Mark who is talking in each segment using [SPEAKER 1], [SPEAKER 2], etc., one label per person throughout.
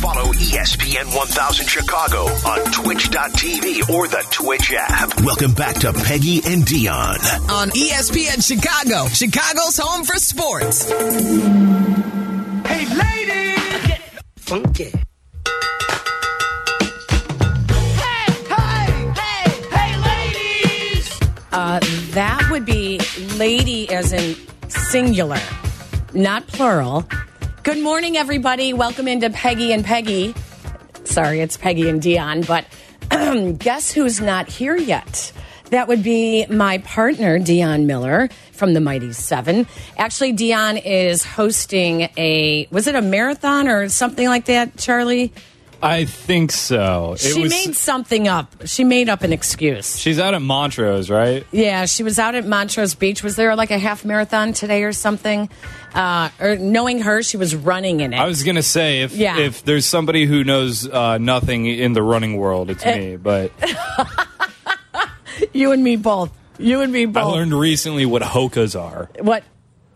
[SPEAKER 1] Follow E ESPN 1000 Chicago on twitch.tv or the Twitch app. Welcome back to Peggy and Dion.
[SPEAKER 2] on E ESPN Chicago, Chicago's home for sports.
[SPEAKER 3] Hey, ladies, get funky. Hey, hey, hey, hey, ladies.
[SPEAKER 4] Uh, that would be lady as in singular, not plural. Good morning, everybody. Welcome into Peggy and Peggy. Sorry, it's Peggy and Dion, but guess who's not here yet? That would be my partner, Dion Miller from the Mighty Seven. Actually, Dion is hosting a, was it a marathon or something like that, Charlie?
[SPEAKER 5] I think so. It
[SPEAKER 4] she
[SPEAKER 5] was-
[SPEAKER 4] made something up. She made up an excuse.
[SPEAKER 5] She's out at Montrose, right?
[SPEAKER 4] Yeah, she was out at Montrose Beach. Was there like a half marathon today or something? Uh, or knowing her, she was running in it.
[SPEAKER 5] I was gonna say if
[SPEAKER 4] Yeah.
[SPEAKER 5] if there's somebody who knows uh, nothing in the running world, it's
[SPEAKER 4] Eh.
[SPEAKER 5] me. But
[SPEAKER 4] you and me both. You and me both.
[SPEAKER 5] I learned recently what hokas are.
[SPEAKER 4] what?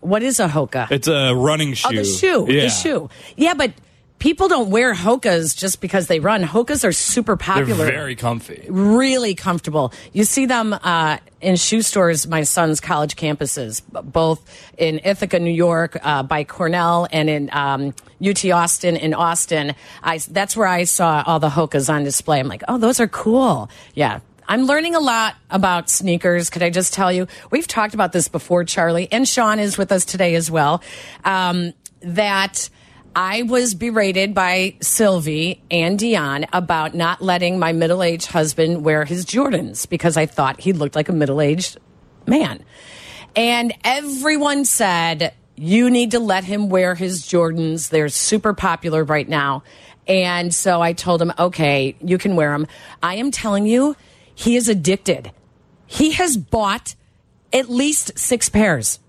[SPEAKER 4] What is a hoka?
[SPEAKER 5] It's a running shoe.
[SPEAKER 4] oh, the shoe. The shoe. Yeah, but people don't wear hokas just because they run. Hokas are super
[SPEAKER 5] They're
[SPEAKER 4] popular.
[SPEAKER 5] very comfy.
[SPEAKER 4] really comfortable. You see them uh, in shoe stores, my son's college campuses, b- both in Ithaca, New York, uh, by Cornell, and in um, UT Austin in Austin. I, that's where I saw all the Hokas on display. I'm like, oh, those are cool. Yeah. I'm learning a lot about sneakers. Could I just tell you? We've talked about this before, Charlie, and Sean is with us today as well. Um, that I was berated by Sylvie and Dion about not letting my middle aged husband wear his Jordans because I thought he looked like a middle aged man. And everyone said, you need to let him wear his Jordans. They're super popular right now. And so I told him, okay, you can wear them. I am telling you, he is addicted. He has bought at least six pairs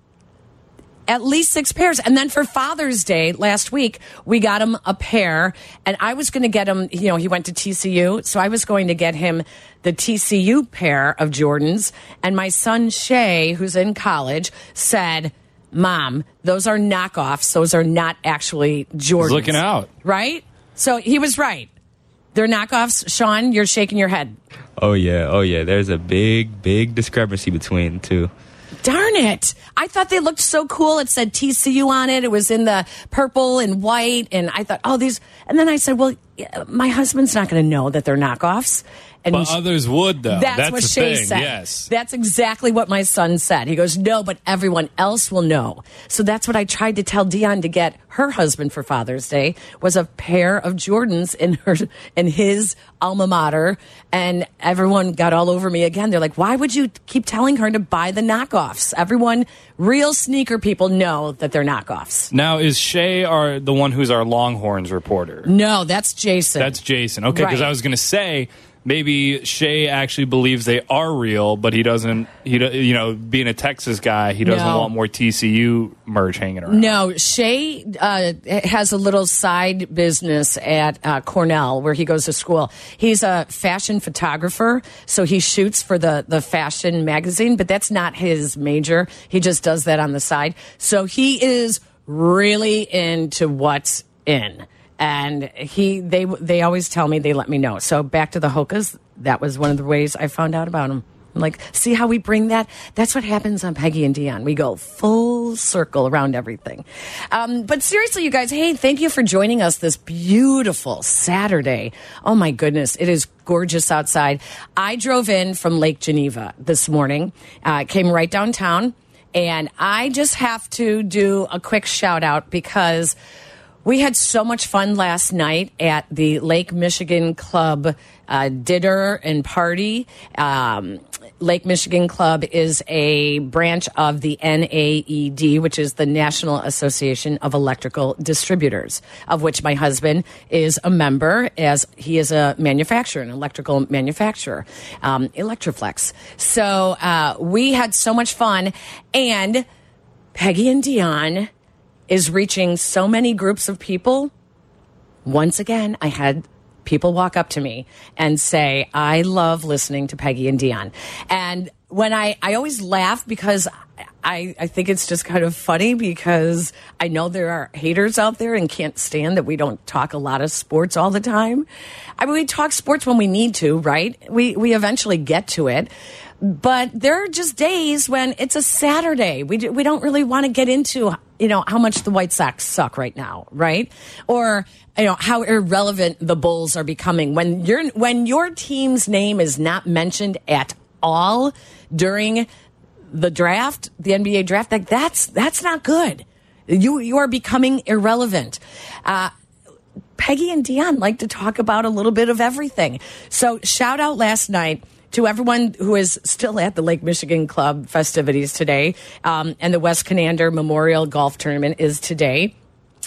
[SPEAKER 4] at least six pairs. And then for Father's Day last week, we got him a pair. And I was going to get him, you know, he went to TCU. So I was going to get him the TCU pair of Jordans. And my son Shay, who's in college, said, Mom, those are knockoffs. Those are not actually Jordans.
[SPEAKER 5] looking out.
[SPEAKER 4] Right? So he was right. They're knockoffs. Sean, you're shaking your head.
[SPEAKER 6] Oh yeah, oh yeah. There's a big, big discrepancy between the two.
[SPEAKER 4] Darn it. I thought they looked so cool. It said TCU on it. It was in the purple and white. And I thought, oh, these. And then I said, well, yeah, my husband's not going to know that they're knockoffs. And
[SPEAKER 5] But others would though.
[SPEAKER 4] that's, what
[SPEAKER 5] Oh, the
[SPEAKER 4] Shay
[SPEAKER 5] thing.
[SPEAKER 4] said.
[SPEAKER 5] Yes.
[SPEAKER 4] That's exactly what my son said. He goes, no, but everyone else will know. So that's what I tried to tell Dion to get her husband for Father's Day was a pair of Jordans in her in his alma mater, and everyone got all over me again. They're like, why would you keep telling her to buy the knockoffs? Everyone, real sneaker people know that they're knockoffs.
[SPEAKER 5] now is Shay our the one who's our Longhorns reporter?
[SPEAKER 4] No, that's Jason.
[SPEAKER 5] That's Jason. Okay, because
[SPEAKER 4] Right.
[SPEAKER 5] I was going to say maybe Shay actually believes they are real, but he doesn't. He do- you know being a Texas guy, he doesn't
[SPEAKER 4] No.
[SPEAKER 5] want more TCU merch hanging around.
[SPEAKER 4] No, Shay uh, has a little side business at uh, Cornell where he goes to school. He's a fashion photographer, so he shoots for the the fashion magazine, but that's not his major. He just does that on the side. So he is really into what's in, and he they they always tell me they let me know. So back to the Hokas, that was one of the ways I found out about him. I'm Like, see how we bring that? That's what happens on Peggy and Dion. We go full circle around everything. Um, but seriously, you guys, hey, thank you for joining us this beautiful Saturday. Oh my goodness, it is gorgeous outside. I drove in from Lake Geneva this morning, uh, came right downtown, and I just have to do a quick shout out because we had so much fun last night at the Lake Michigan Club uh, dinner and party. Um, Lake Michigan Club is a branch of the NAED, which is the National Association of Electrical Distributors, of which my husband is a member, as he is a manufacturer, an electrical manufacturer, um, Electroflex. So uh, we had so much fun, and Peggy and Dion is reaching so many groups of people. Once again, I had people walk up to me and say, I love listening to Peggy and Dion. And when I, I always laugh because I, I think it's just kind of funny because I know there are haters out there and can't stand that we don't talk a lot of sports all the time. I mean, we talk sports when we need to, right? We, we eventually get to it. But there are just days when it's a Saturday. We, do, we don't really want to get into, you know, how much the White Sox suck right now, right? Or, you know, how irrelevant the Bulls are becoming. When, your when your team's name is not mentioned at all during the draft, the NBA draft, like that's that's not good. You you are becoming irrelevant. Uh, Peggy and Dion like to talk about a little bit of everything. So shout out last night to everyone who is still at the Lake Michigan Club festivities today, um, and the West Conander Memorial Golf Tournament is today.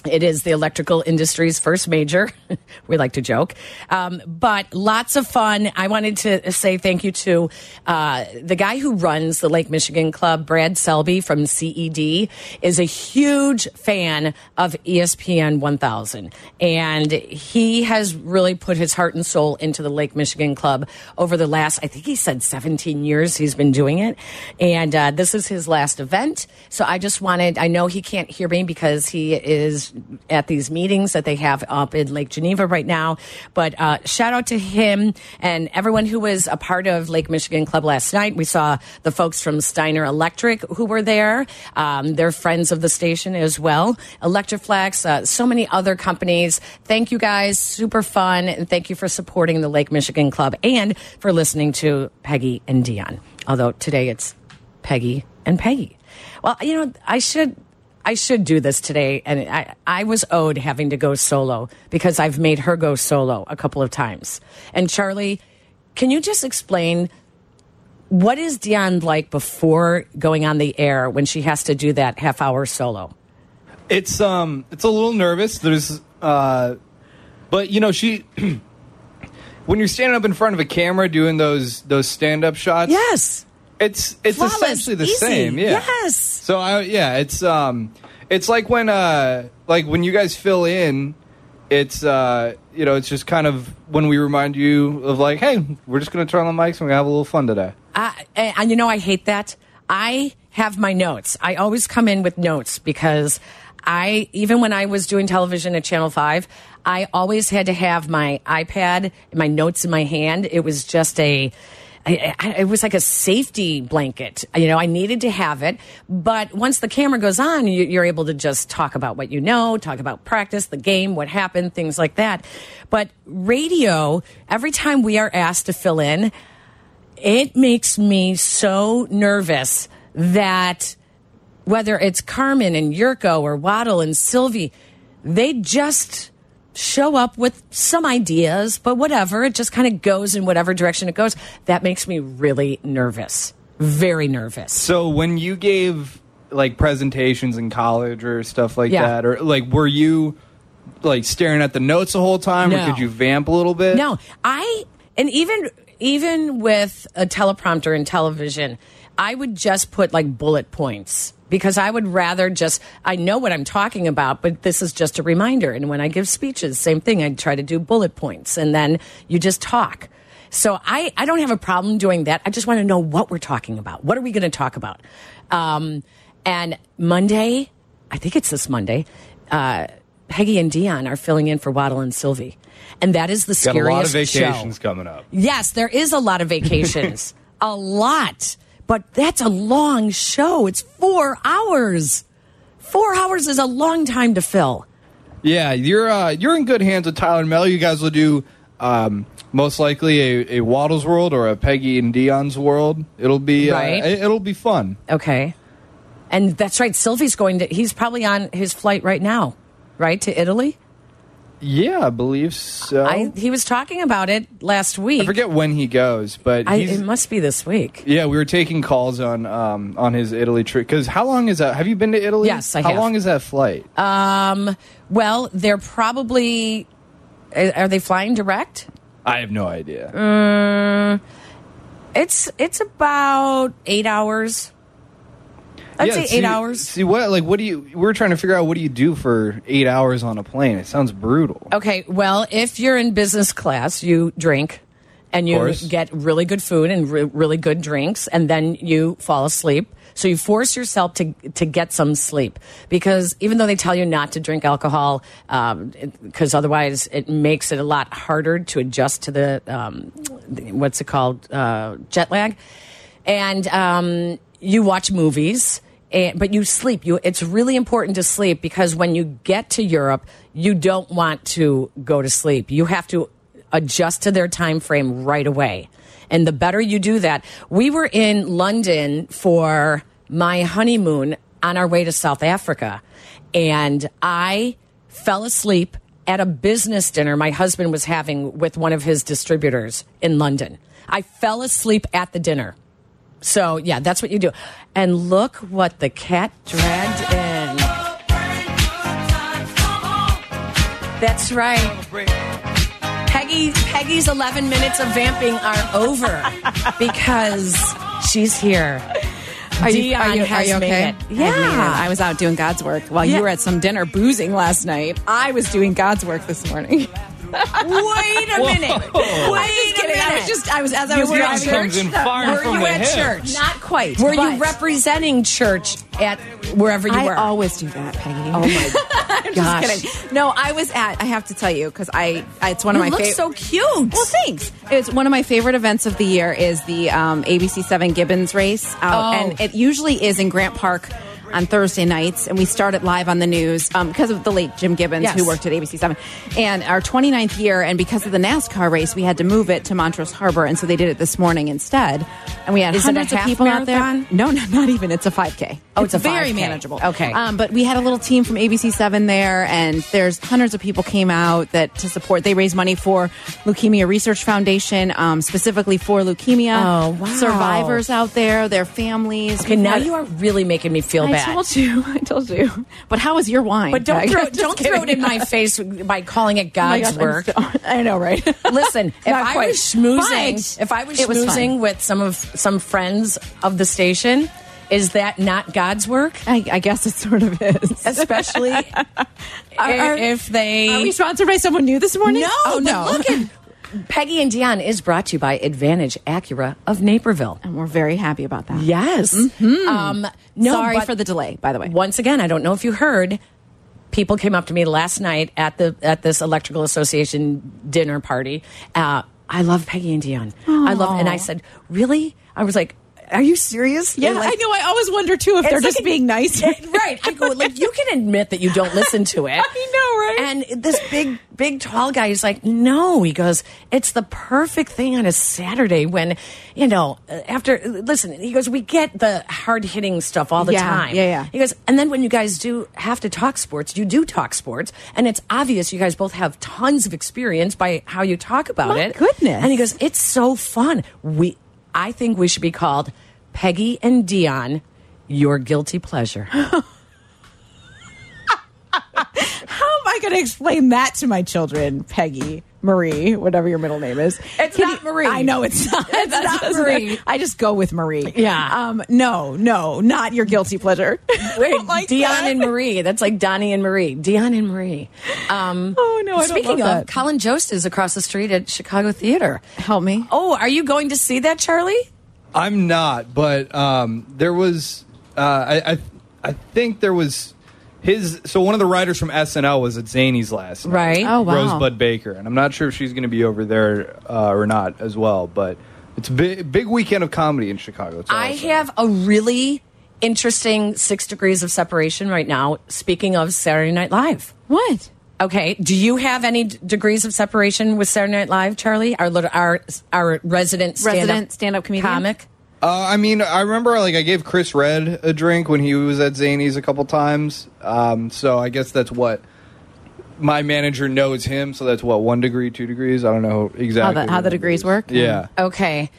[SPEAKER 4] It is the electrical industry's first major. we like to joke, um, but lots of fun. I wanted to say thank you to uh, the guy who runs the Lake Michigan Club, Brad Selby from CED, is a huge fan of E ESPN 1000, and he has really put his heart and soul into the Lake Michigan Club over the last, I think he said 17 years he's been doing it, and uh, this is his last event. So I just wanted, I know he can't hear me because he is at these meetings that they have up in Lake Geneva right now. But uh, shout out to him and everyone who was a part of Lake Michigan Club last night. We saw the folks from Steiner Electric who were there. Um, they're friends of the station as well. Electroflex, uh, so many other companies. Thank you guys. Super fun. And thank you for supporting the Lake Michigan Club and for listening to Peggy and Dion. Although today it's Peggy and Peggy. Well, you know, I should I should do this today, and I I was owed having to go solo because I've made her go solo a couple of times. And Charlie, can you just explain what is Dion like before going on the air when she has to do that half hour solo?
[SPEAKER 5] It's um, it's a little nervous. There's uh, but you know she, when you're standing up in front of a camera doing those those stand up shots,
[SPEAKER 4] Yes.
[SPEAKER 5] it's it's
[SPEAKER 4] Flawless,
[SPEAKER 5] essentially the
[SPEAKER 4] easy,
[SPEAKER 5] same. Yeah.
[SPEAKER 4] yes.
[SPEAKER 5] So I yeah, it's um, it's like when uh, like when you guys fill in, it's uh, you know, it's just kind of when we remind you of like, hey, we're just gonna turn on the mics and we're gonna have a little fun today.
[SPEAKER 4] I, and, and you know, I hate that. I have my notes. I always come in with notes because I, even when I was doing television at Channel 5, I always had to have my iPad, and my notes in my hand. It was just a, I, I, it was like a safety blanket. You know, I needed to have it. But once the camera goes on, you, you're able to just talk about what you know, talk about practice, the game, what happened, things like that. But radio, every time we are asked to fill in, it makes me so nervous that whether it's Carmen and Yurko or Waddle and Sylvie, they just show up with some ideas, but whatever. It just kind of goes in whatever direction it goes. That makes me really nervous. Very nervous.
[SPEAKER 5] So when you gave like presentations in college or stuff like
[SPEAKER 4] Yeah.
[SPEAKER 5] that, or like were you like staring at the notes the whole time,
[SPEAKER 4] No.
[SPEAKER 5] or could you vamp a little bit?
[SPEAKER 4] No, I and even even with a teleprompter and television, I would just put like bullet points because I would rather just I know what I'm talking about, but this is just a reminder. And when I give speeches, same thing. I try to do bullet points, and then you just talk. So I, I don't have a problem doing that. I just want to know what we're talking about. What are we going to talk about? Um, and Monday, I think it's this Monday. Uh, Peggy and Dion are filling in for Waddle and Sylvie, and that is the
[SPEAKER 5] Got a
[SPEAKER 4] scariest
[SPEAKER 5] lot of vacations
[SPEAKER 4] show.
[SPEAKER 5] coming up.
[SPEAKER 4] Yes, there is a lot of vacations, a lot, but that's a long show. It's four hours. Four hours is a long time to fill.
[SPEAKER 5] Yeah, you're uh, you're in good hands with Tyler Mel. You guys will do um, most likely a, a Waddles World or a Peggy and Dion's World. It'll be uh,
[SPEAKER 4] Right.
[SPEAKER 5] it- it'll be fun.
[SPEAKER 4] Okay, and that's right. Sylvie's going to. He's probably on his flight right now, right to Italy.
[SPEAKER 5] Yeah, I believe so.
[SPEAKER 4] I,
[SPEAKER 5] I,
[SPEAKER 4] he was talking about it last week.
[SPEAKER 5] Oh. forget when he goes, but
[SPEAKER 4] I,
[SPEAKER 5] he's,
[SPEAKER 4] it must be this week.
[SPEAKER 5] yeah, we were taking calls on um, on his Italy trip. Because how long is that? Have you been to Italy?
[SPEAKER 4] Yes, I
[SPEAKER 5] How
[SPEAKER 4] have.
[SPEAKER 5] long is that flight?
[SPEAKER 4] Well, they're probably. Are are they flying direct?
[SPEAKER 5] I have no idea.
[SPEAKER 4] It's it's about eight hours. I'd
[SPEAKER 5] Yeah,
[SPEAKER 4] say eight
[SPEAKER 5] see-
[SPEAKER 4] hours.
[SPEAKER 5] See what like what do you? We're trying to figure out what do you do for eight hours on a plane. It sounds brutal.
[SPEAKER 4] Okay. Well, if you're in business class, you drink and you
[SPEAKER 5] course.
[SPEAKER 4] get really good food and re really good drinks, and then you fall asleep. So you force yourself to to get some sleep because even though they tell you not to drink alcohol, um, because otherwise it makes it a lot harder to adjust to the um, the- what's it called uh, jet lag, and um, you watch movies. And, but you sleep. You it's really important to sleep because when you get to Europe, you don't want to go to sleep. You have to adjust to their time frame right away. And the better you do that, we were in London for my honeymoon on our way to South Africa, and I fell asleep at a business dinner my husband was having with one of his distributors in London. I fell asleep at the dinner. So yeah, that's what you do. And look what the cat dragged in. That's right. Peggy Peggy's 11 minutes of vamping are over because she's here.
[SPEAKER 7] Are you,
[SPEAKER 4] Dion
[SPEAKER 7] are you, are
[SPEAKER 4] has
[SPEAKER 7] you
[SPEAKER 4] made
[SPEAKER 7] okay?
[SPEAKER 4] it.
[SPEAKER 7] I
[SPEAKER 4] Yeah.
[SPEAKER 7] made it. I was out doing God's work while
[SPEAKER 4] Yeah.
[SPEAKER 7] you were at some dinner boozing last night. I was doing God's work this morning.
[SPEAKER 4] Wait a minute. Wait
[SPEAKER 7] I'm just
[SPEAKER 4] a
[SPEAKER 7] kidding.
[SPEAKER 4] minute.
[SPEAKER 7] I was just, I was, as I
[SPEAKER 4] You
[SPEAKER 7] was
[SPEAKER 4] were
[SPEAKER 7] driving-
[SPEAKER 4] at
[SPEAKER 5] Dion comes in firing
[SPEAKER 7] Were
[SPEAKER 5] from
[SPEAKER 7] you
[SPEAKER 5] the
[SPEAKER 7] at
[SPEAKER 5] hip.
[SPEAKER 7] church?
[SPEAKER 4] not quite.
[SPEAKER 7] Were
[SPEAKER 4] Were
[SPEAKER 7] you
[SPEAKER 4] you representing church at wherever you
[SPEAKER 7] I
[SPEAKER 4] were?
[SPEAKER 7] always do that, Peggy.
[SPEAKER 4] oh my I'm gosh.
[SPEAKER 7] Just kidding. No, I was at. I have to tell you because I, I- it's one
[SPEAKER 4] You
[SPEAKER 7] of my
[SPEAKER 4] look
[SPEAKER 7] favorite.
[SPEAKER 4] so cute.
[SPEAKER 7] Well, thanks. It's one of my favorite events of the year is the um, ABC Seven Gibbons race, out,
[SPEAKER 4] Oh.
[SPEAKER 7] and it usually is in Grant Park on Thursday nights, and we start it live on the news um, because of the late Jim Gibbons
[SPEAKER 4] Yes.
[SPEAKER 7] who worked at ABC Seven, and our 29th year, and because of the NASCAR race, we had to move it to Montrose Harbor, and so they did it this morning instead, and we had
[SPEAKER 4] Is it a
[SPEAKER 7] hundreds of
[SPEAKER 4] half
[SPEAKER 7] people out
[SPEAKER 4] marathon?
[SPEAKER 7] there. No, no, not even. It's a 5K.
[SPEAKER 4] Oh, it's a
[SPEAKER 7] very
[SPEAKER 4] 5K.
[SPEAKER 7] manageable.
[SPEAKER 4] Okay.
[SPEAKER 7] Um, but we had a little team from ABC7 there, and there's hundreds of people came out that to support. They raised money for Leukemia Research Foundation, um, specifically for leukemia.
[SPEAKER 4] Oh, wow.
[SPEAKER 7] Survivors out there, their families.
[SPEAKER 4] Okay, now you are really making me feel
[SPEAKER 7] I
[SPEAKER 4] bad.
[SPEAKER 7] told you. I told you. But how was your wine?
[SPEAKER 4] But don't
[SPEAKER 7] Peg?
[SPEAKER 4] throw,
[SPEAKER 7] Just
[SPEAKER 4] don't throw it
[SPEAKER 7] kidding.
[SPEAKER 4] in my face by calling it
[SPEAKER 7] Oh my
[SPEAKER 4] God's
[SPEAKER 7] gosh, I'm
[SPEAKER 4] work.
[SPEAKER 7] so- I know, right?
[SPEAKER 4] Listen, if
[SPEAKER 7] Not
[SPEAKER 4] I
[SPEAKER 7] quite.
[SPEAKER 4] was schmoozing,
[SPEAKER 7] But
[SPEAKER 4] if I was
[SPEAKER 7] it was fun.
[SPEAKER 4] schmoozing with some of some friends of the station, is that not God's work?
[SPEAKER 7] I, I guess it sort of is.
[SPEAKER 4] Especially i-
[SPEAKER 7] are-
[SPEAKER 4] if they
[SPEAKER 7] Are we sponsored by someone new this morning?
[SPEAKER 4] no,
[SPEAKER 7] oh,
[SPEAKER 4] but
[SPEAKER 7] no.
[SPEAKER 4] Look at Peggy and Dion is brought to you by Advantage Acura of Naperville.
[SPEAKER 7] and we're very happy about that.
[SPEAKER 4] Yes. Um, no,
[SPEAKER 7] Sorry
[SPEAKER 4] but
[SPEAKER 7] for the delay, by the way.
[SPEAKER 4] Once again, I don't know if you heard. People came up to me last night at the at this Electrical Association dinner party. Uh, I love Peggy and Dion. I love, and I said, really? I was like, are you serious?
[SPEAKER 7] Yeah,
[SPEAKER 4] They're like-
[SPEAKER 7] I know. I always wonder too if
[SPEAKER 4] It's
[SPEAKER 7] they're
[SPEAKER 4] like
[SPEAKER 7] just
[SPEAKER 4] a-
[SPEAKER 7] being nice.
[SPEAKER 4] right. I go, like, you can admit that you don't listen to it.
[SPEAKER 7] I know, right?
[SPEAKER 4] And this big, big, tall guy is like, no. He goes, it's the perfect thing on a Saturday when, you know, uh, after, listen, he goes, we get the hard hitting stuff all the
[SPEAKER 7] Yeah,
[SPEAKER 4] time.
[SPEAKER 7] yeah, yeah.
[SPEAKER 4] He goes, and then when you guys do have to talk sports, you do talk sports. And it's obvious you guys both have tons of experience by how you talk about
[SPEAKER 7] My
[SPEAKER 4] it.
[SPEAKER 7] goodness.
[SPEAKER 4] And he goes, it's so fun. We, I think we should be called Peggy and Dion, your guilty pleasure.
[SPEAKER 7] How am I going to explain that to my children, Peggy, Marie, whatever your middle name is?
[SPEAKER 4] It's not Marie.
[SPEAKER 7] I know it's not. It's
[SPEAKER 4] not Marie.
[SPEAKER 7] I just go with Marie.
[SPEAKER 4] Yeah.
[SPEAKER 7] Um. No. No. Not your guilty pleasure. Oh I
[SPEAKER 4] Wait,
[SPEAKER 7] don't like
[SPEAKER 4] Dion
[SPEAKER 7] that.
[SPEAKER 4] and Marie. That's like Donnie and Marie. Dion and Marie. Um,
[SPEAKER 7] Oh, no, I don't
[SPEAKER 4] Speaking
[SPEAKER 7] love
[SPEAKER 4] of,
[SPEAKER 7] that.
[SPEAKER 4] Colin Jost is across the street at Chicago Theater.
[SPEAKER 7] Help me.
[SPEAKER 4] Oh, are you going to see that, Charlie?
[SPEAKER 5] I'm not, but um, there was uh, I, I I think there was his. So one of the writers from SNL was at Zany's last, night,
[SPEAKER 4] Right. Oh,
[SPEAKER 7] wow.
[SPEAKER 5] Rosebud Baker, and I'm not sure if she's going to be over there uh, or not as well. But it's a big, big weekend of comedy in Chicago. That's all
[SPEAKER 4] I
[SPEAKER 5] I'll say.
[SPEAKER 4] have a really interesting six degrees of separation right now. Speaking of Saturday Night Live.
[SPEAKER 7] What?
[SPEAKER 4] Okay. Do you have any d- degrees of separation with Saturday Night Live, Charlie? Our little, our our resident stand
[SPEAKER 7] Resident stand-up comedian?
[SPEAKER 4] comic.
[SPEAKER 5] Uh, I mean, I remember like I gave Chris Red a drink when he was at Zany's a couple times. Um, so I guess that's what my manager knows him. So that's what one degree, two degrees. I don't know exactly
[SPEAKER 7] how the degrees work? Oh.
[SPEAKER 5] Yeah.
[SPEAKER 4] Okay.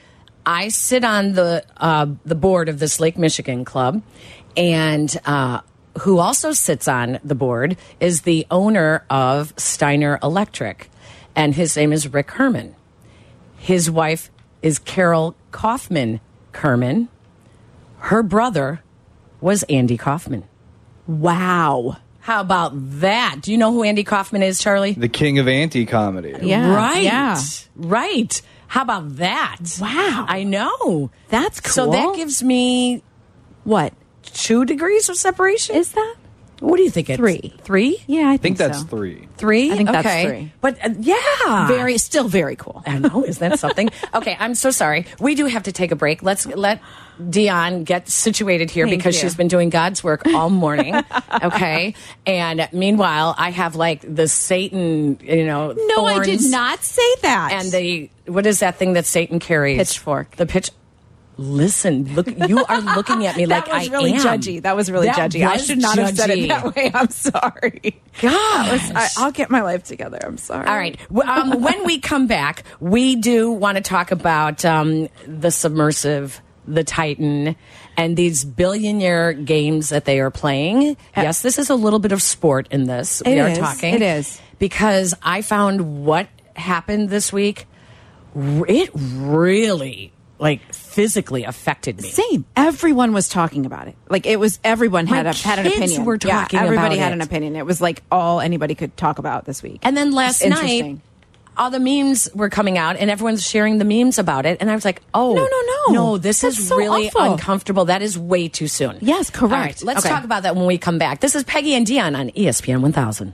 [SPEAKER 4] I sit on the uh, the board of this Lake Michigan club, and uh, who also sits on the board is the owner of Steiner Electric, and his name is Rick Herman. His wife is Carol Kaufman Kerman. Her brother was Andy Kaufman.
[SPEAKER 7] Wow.
[SPEAKER 4] How about that? Do you know who Andy Kaufman is, Charlie?
[SPEAKER 5] The king of anti comedy.
[SPEAKER 7] Yeah.
[SPEAKER 4] Right.
[SPEAKER 7] Yeah.
[SPEAKER 4] Right. How about that?
[SPEAKER 7] Wow.
[SPEAKER 4] I know.
[SPEAKER 7] That's
[SPEAKER 4] So
[SPEAKER 7] cool.
[SPEAKER 4] that gives me
[SPEAKER 7] What
[SPEAKER 4] two degrees of separation?
[SPEAKER 7] is that?
[SPEAKER 4] what do you think? It's
[SPEAKER 7] Three.
[SPEAKER 4] Three?
[SPEAKER 7] Yeah, I think,
[SPEAKER 5] I think that's
[SPEAKER 7] so.
[SPEAKER 5] three.
[SPEAKER 4] Three?
[SPEAKER 7] I think
[SPEAKER 4] okay.
[SPEAKER 7] that's three.
[SPEAKER 4] But uh, yeah.
[SPEAKER 7] Very, still very cool.
[SPEAKER 4] I know. Is that something? okay, I'm so sorry. We do have to take a break. Let's let Dion get situated here
[SPEAKER 7] Thank
[SPEAKER 4] because
[SPEAKER 7] you.
[SPEAKER 4] she's been doing God's work all morning. okay, and meanwhile, I have like the Satan, you know,
[SPEAKER 7] No, I did
[SPEAKER 4] thorns
[SPEAKER 7] not say that.
[SPEAKER 4] and the what is that thing that Satan carries?
[SPEAKER 7] Pitchfork.
[SPEAKER 4] The pitch. Listen, look. You are looking at me
[SPEAKER 7] that
[SPEAKER 4] like
[SPEAKER 7] was
[SPEAKER 4] I
[SPEAKER 7] really
[SPEAKER 4] am.
[SPEAKER 7] judgy. That was really
[SPEAKER 4] That
[SPEAKER 7] judgy. I
[SPEAKER 4] was
[SPEAKER 7] should not have said it
[SPEAKER 4] judgy.
[SPEAKER 7] that way. I'm sorry.
[SPEAKER 4] Gosh.
[SPEAKER 7] I, I'll get my life together. I'm sorry.
[SPEAKER 4] All right. W- Um, when we come back, we do want to talk about um, the submersive, the Titan, and these billionaire games that they are playing. Yes, this is a little bit of sport in this. we
[SPEAKER 7] Uh, It
[SPEAKER 4] are
[SPEAKER 7] is.
[SPEAKER 4] talking.
[SPEAKER 7] It is.
[SPEAKER 4] Because I found what happened this week, r- it really, like, physically affected me.
[SPEAKER 7] Same. Everyone was talking about it. Like it was everyone had
[SPEAKER 4] My
[SPEAKER 7] a, had an
[SPEAKER 4] kids
[SPEAKER 7] opinion.
[SPEAKER 4] were
[SPEAKER 7] Yeah,
[SPEAKER 4] talking
[SPEAKER 7] everybody
[SPEAKER 4] about
[SPEAKER 7] had
[SPEAKER 4] it.
[SPEAKER 7] an opinion. It was like all anybody could talk about this week.
[SPEAKER 4] And then last
[SPEAKER 7] It's
[SPEAKER 4] night,
[SPEAKER 7] interesting.
[SPEAKER 4] all the memes were coming out, and everyone's sharing the memes about it. And I was like, "Oh,
[SPEAKER 7] No, no, no.
[SPEAKER 4] no! This
[SPEAKER 7] That's
[SPEAKER 4] is
[SPEAKER 7] so
[SPEAKER 4] really
[SPEAKER 7] awful.
[SPEAKER 4] uncomfortable. That is way too soon."
[SPEAKER 7] Yes, correct.
[SPEAKER 4] All right, let's
[SPEAKER 7] Okay.
[SPEAKER 4] talk about that when we come back. This is Peggy and Dion on E ESPN 1000.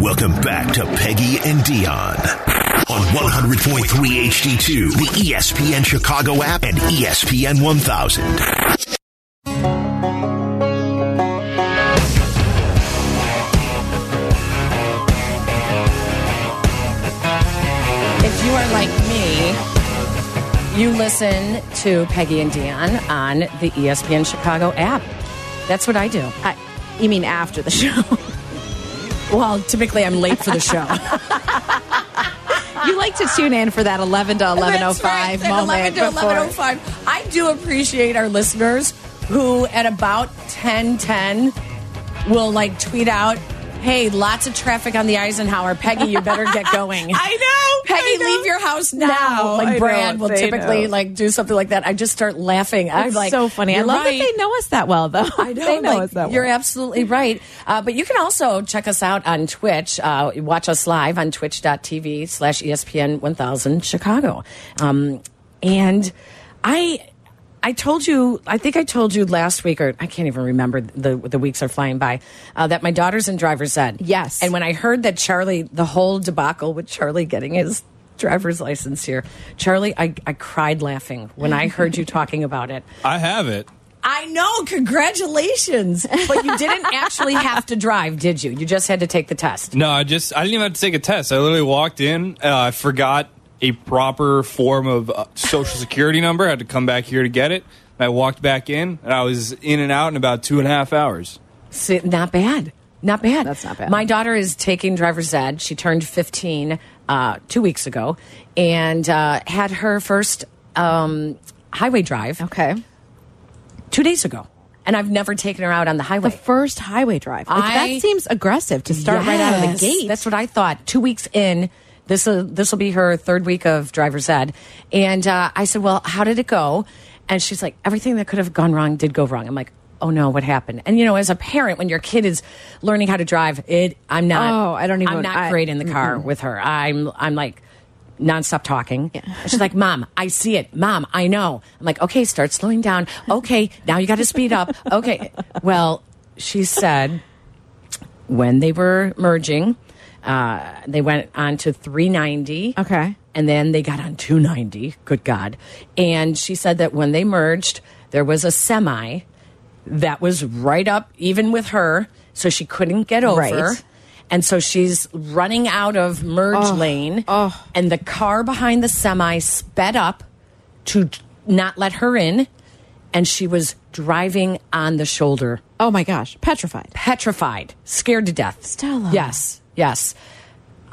[SPEAKER 1] Welcome back to Peggy and Dion on 100.3 HD2, the E ESPN Chicago app and E ESPN 1000.
[SPEAKER 4] If you are like me, you listen to Peggy and Dion on the E ESPN Chicago app. That's what I do.
[SPEAKER 7] I, you mean after the show?
[SPEAKER 4] Well, typically I'm late for the show.
[SPEAKER 7] you like to tune in for that eleven to eleven oh
[SPEAKER 4] That's right,
[SPEAKER 7] five
[SPEAKER 4] that
[SPEAKER 7] moment
[SPEAKER 4] 11 to
[SPEAKER 7] before.
[SPEAKER 4] 1105. I do appreciate our listeners who at about 1010 will like tweet out, "Hey, lots of traffic on the Eisenhower. Peggy, you better get going."
[SPEAKER 7] I know,
[SPEAKER 4] Peggy,
[SPEAKER 7] I know.
[SPEAKER 4] leave your house now.
[SPEAKER 7] Now,
[SPEAKER 4] like
[SPEAKER 7] I know,
[SPEAKER 4] Brad will
[SPEAKER 7] they
[SPEAKER 4] typically
[SPEAKER 7] know.
[SPEAKER 4] like do something like that. I just start laughing. I'm
[SPEAKER 7] It's
[SPEAKER 4] like
[SPEAKER 7] so funny. I
[SPEAKER 4] "You're
[SPEAKER 7] love
[SPEAKER 4] right."
[SPEAKER 7] that they know us that well, though.
[SPEAKER 4] I know.
[SPEAKER 7] they know
[SPEAKER 4] like,
[SPEAKER 7] us that
[SPEAKER 4] You're
[SPEAKER 7] well.
[SPEAKER 4] absolutely right. Uh, but you can also check us out on Twitch. Uh, watch us live on twitch.tv slash E ESPN 1000 Chicago. Um, and I. I told you, I think I told you last week, or I can't even remember, the, the weeks are flying by, uh, that my daughter's in driver's ed.
[SPEAKER 7] Yes.
[SPEAKER 4] And when I heard that Charlie, the whole debacle with Charlie getting his driver's license here, Charlie, I, I cried laughing when I heard you talking about it.
[SPEAKER 8] I have it.
[SPEAKER 4] I know. Congratulations. But you didn't actually have to drive, did you? You just had to take the test.
[SPEAKER 8] No, I just I didn't even have to take a test. I literally walked in. Uh, I forgot a proper form of uh, social security number. I had to come back here to get it. And I walked back in, and I was in and out in about two and a half hours.
[SPEAKER 4] See, not bad. Not bad.
[SPEAKER 7] That's not bad.
[SPEAKER 4] My daughter is taking driver's ed. She turned 15 uh, two weeks ago and uh, had her first um, highway drive
[SPEAKER 7] okay.
[SPEAKER 4] two days ago. And I've never taken her out on the highway.
[SPEAKER 7] The first highway drive. Like,
[SPEAKER 4] I-
[SPEAKER 7] that seems aggressive to start right out of the
[SPEAKER 4] Yes.
[SPEAKER 7] gate.
[SPEAKER 4] That's what I thought. Two weeks in, this will this will be her third week of driver's ed, and uh, I said, "Well, how did it go?" And she's like, "Everything that could have gone wrong did go wrong." I'm like. Oh no! What happened? And you know, as a parent, when your kid is learning how to drive, it I'm not.
[SPEAKER 7] Oh, I don't even-
[SPEAKER 4] I'm not
[SPEAKER 7] I-
[SPEAKER 4] great in the car with her. I'm I'm like nonstop talking. She's like, "Mom, I see it. Mom, I know." I'm like, "Okay, start slowing down. Okay, now you got to speed up. Okay." Well, she said when they were merging, uh, they went on to 390.
[SPEAKER 7] Okay.
[SPEAKER 4] And then they got on 290. Good God. And she said that when they merged, there was a semi that was right up, even with her. So she couldn't get over.
[SPEAKER 7] Right.
[SPEAKER 4] And so she's running out of merge lane. And the car behind the semi sped up to not let her in. And she was driving on the shoulder
[SPEAKER 7] oh my gosh, petrified.
[SPEAKER 4] petrified, scared to death.
[SPEAKER 7] Stella.
[SPEAKER 4] Yes, yes.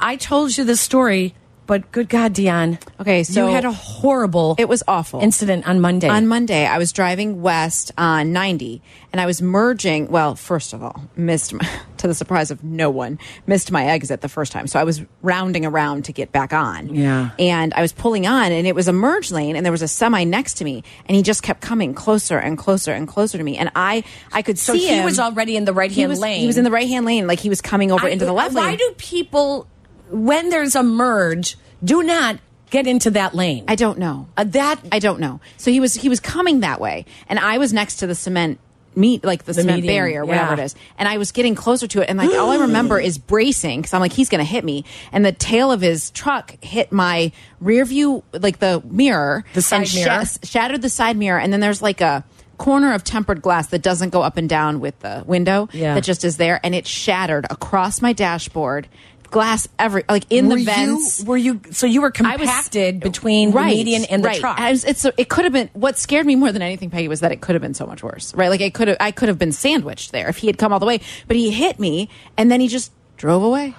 [SPEAKER 4] I told you this story, but good God, Dion.
[SPEAKER 7] Okay, so-
[SPEAKER 4] you had a horrible.
[SPEAKER 7] It was awful.
[SPEAKER 4] Incident on Monday.
[SPEAKER 7] On Monday, I was driving west on 90 and I was merging. Well, first of all, missed my, to the surprise of no one, missed my exit the first time. So I was rounding around to get back on.
[SPEAKER 4] Yeah.
[SPEAKER 7] And I was pulling on and it was a merge lane and there was a semi next to me and he just kept coming closer and closer and closer to me. And I, I could
[SPEAKER 4] So
[SPEAKER 7] see
[SPEAKER 4] he
[SPEAKER 7] him.
[SPEAKER 4] was already in the right-hand
[SPEAKER 7] He was-
[SPEAKER 4] lane.
[SPEAKER 7] He was in the right hand lane. Like he was coming over
[SPEAKER 4] I-
[SPEAKER 7] into the left
[SPEAKER 4] Why
[SPEAKER 7] lane.
[SPEAKER 4] do people, when there's a merge, do not get into that lane?
[SPEAKER 7] I don't know.
[SPEAKER 4] Uh, that
[SPEAKER 7] I don't know. So he was he was coming that way, and I was next to the cement meet like the, cement
[SPEAKER 4] median,
[SPEAKER 7] barrier, whatever
[SPEAKER 4] yeah.
[SPEAKER 7] it is, and I was getting closer to it, and like all I remember is bracing because I'm like he's gonna hit me, and the tail of his truck hit my rear view like the mirror,
[SPEAKER 4] The side
[SPEAKER 7] and
[SPEAKER 4] mirror.
[SPEAKER 7] shattered the side mirror, and then there's like a corner of tempered glass that doesn't go up and down with the window
[SPEAKER 4] Yeah.
[SPEAKER 7] that just is there and it shattered across my dashboard glass every like in
[SPEAKER 4] were
[SPEAKER 7] the vents
[SPEAKER 4] You, were you? So you were
[SPEAKER 7] I was-
[SPEAKER 4] compacted between
[SPEAKER 7] right,
[SPEAKER 4] the median and the
[SPEAKER 7] right.
[SPEAKER 4] truck.
[SPEAKER 7] I was- it's, it could have been what scared me more than anything, Peggy, was that it could have been so much worse. Right? Like I could have, I could have been sandwiched there if he had come all the way. But he hit me, and then he just drove away.